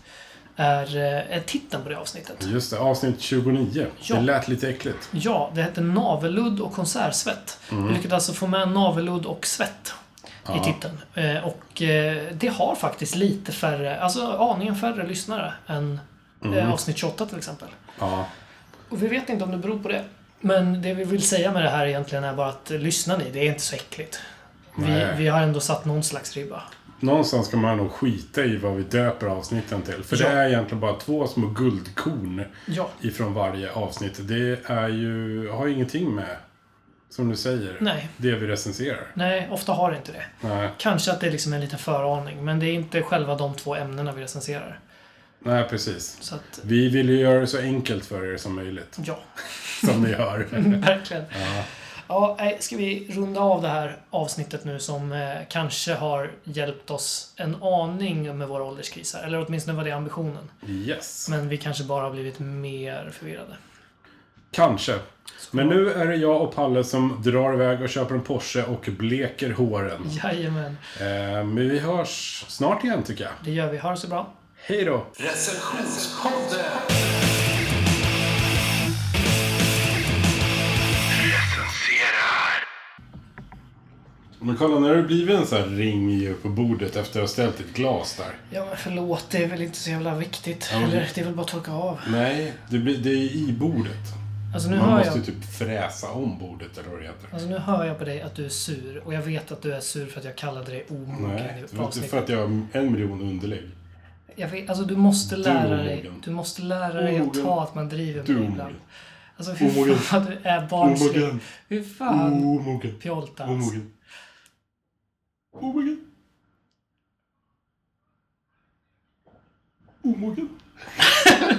C: är, eh, är titeln på det avsnittet.
B: Just det, avsnitt 29.
C: Ja.
B: Det lät lite äckligt.
C: Ja, det hette Navelludd och konsertsvett. Vi lyckades alltså få med navelludd och svett i titeln. Eh, Och eh, det har faktiskt lite färre, alltså aningen färre lyssnare än eh, avsnitt 28 till exempel.
B: Ja,
C: Och vi vet inte om det beror på det. Men det vi vill säga med det här egentligen är bara att eh, lyssnar ni, det är inte så äckligt. Vi,
B: Nej.
C: vi har ändå satt någon slags ribba.
B: Någonstans ska man nog skita i vad vi döper avsnitten till. För
C: Ja.
B: det är egentligen bara två små guldkorn
C: Ja.
B: ifrån varje avsnitt. Det är ju, har ju ingenting med, som du säger,
C: Nej.
B: det vi recenserar.
C: Nej, ofta har det inte det.
B: Nej,
C: Kanske att det är liksom en liten föraning, men det är inte själva de två ämnena vi recenserar.
B: nej precis.
C: Så att,
B: Vi vill ju göra det så enkelt för er som möjligt,
C: ja, [laughs]
B: som ni hör.
C: verkligen. Ja. nej, ska vi runda av det här avsnittet nu som eh, kanske har hjälpt oss en aning med våra ålderskriser. Eller åtminstone var det ambitionen.
B: Yes.
C: Men vi kanske bara har blivit mer förvirrade.
B: Kanske. Men nu är det jag och Palle som drar iväg och köper en Porsche och bleker håren.
C: Jajamän,
B: Eh, men vi hörs snart igen tycker jag.
C: det gör vi. Ha det så bra.
B: Hej då! Men kolla, när det blivit en sån här ring ju på bordet efter att ha ställt ett glas där.
C: Ja, men förlåt. Det är väl inte så jävla viktigt.
B: men-
C: Eller, det är väl bara att torka av.
B: Nej, det, blir, det är i bordet.
C: Alltså nu,
B: Man
C: hör
B: måste
C: jag,
B: ju typ fräsa om bordet eller vad det heter.
C: alltså nu hör jag på dig att du är sur. Och jag vet att du är sur för att jag kallade dig
B: Nej,
C: omogen
B: det
C: i
B: var inte
C: avsnittet.
B: för att jag har en miljon underlägg.
C: Jag vet, alltså du måste lära
B: omogen.
C: dig, du måste lära dig att
B: Omogen.
C: ta att man driver
B: Du
C: med ibland.
B: omogen.
C: Alltså hur
B: Omogen.
C: fan du är barnslig.
B: Omogen.
C: Hur fan
B: Omogen.
C: pjoltas.
B: Omogen. Omogen. Omogen.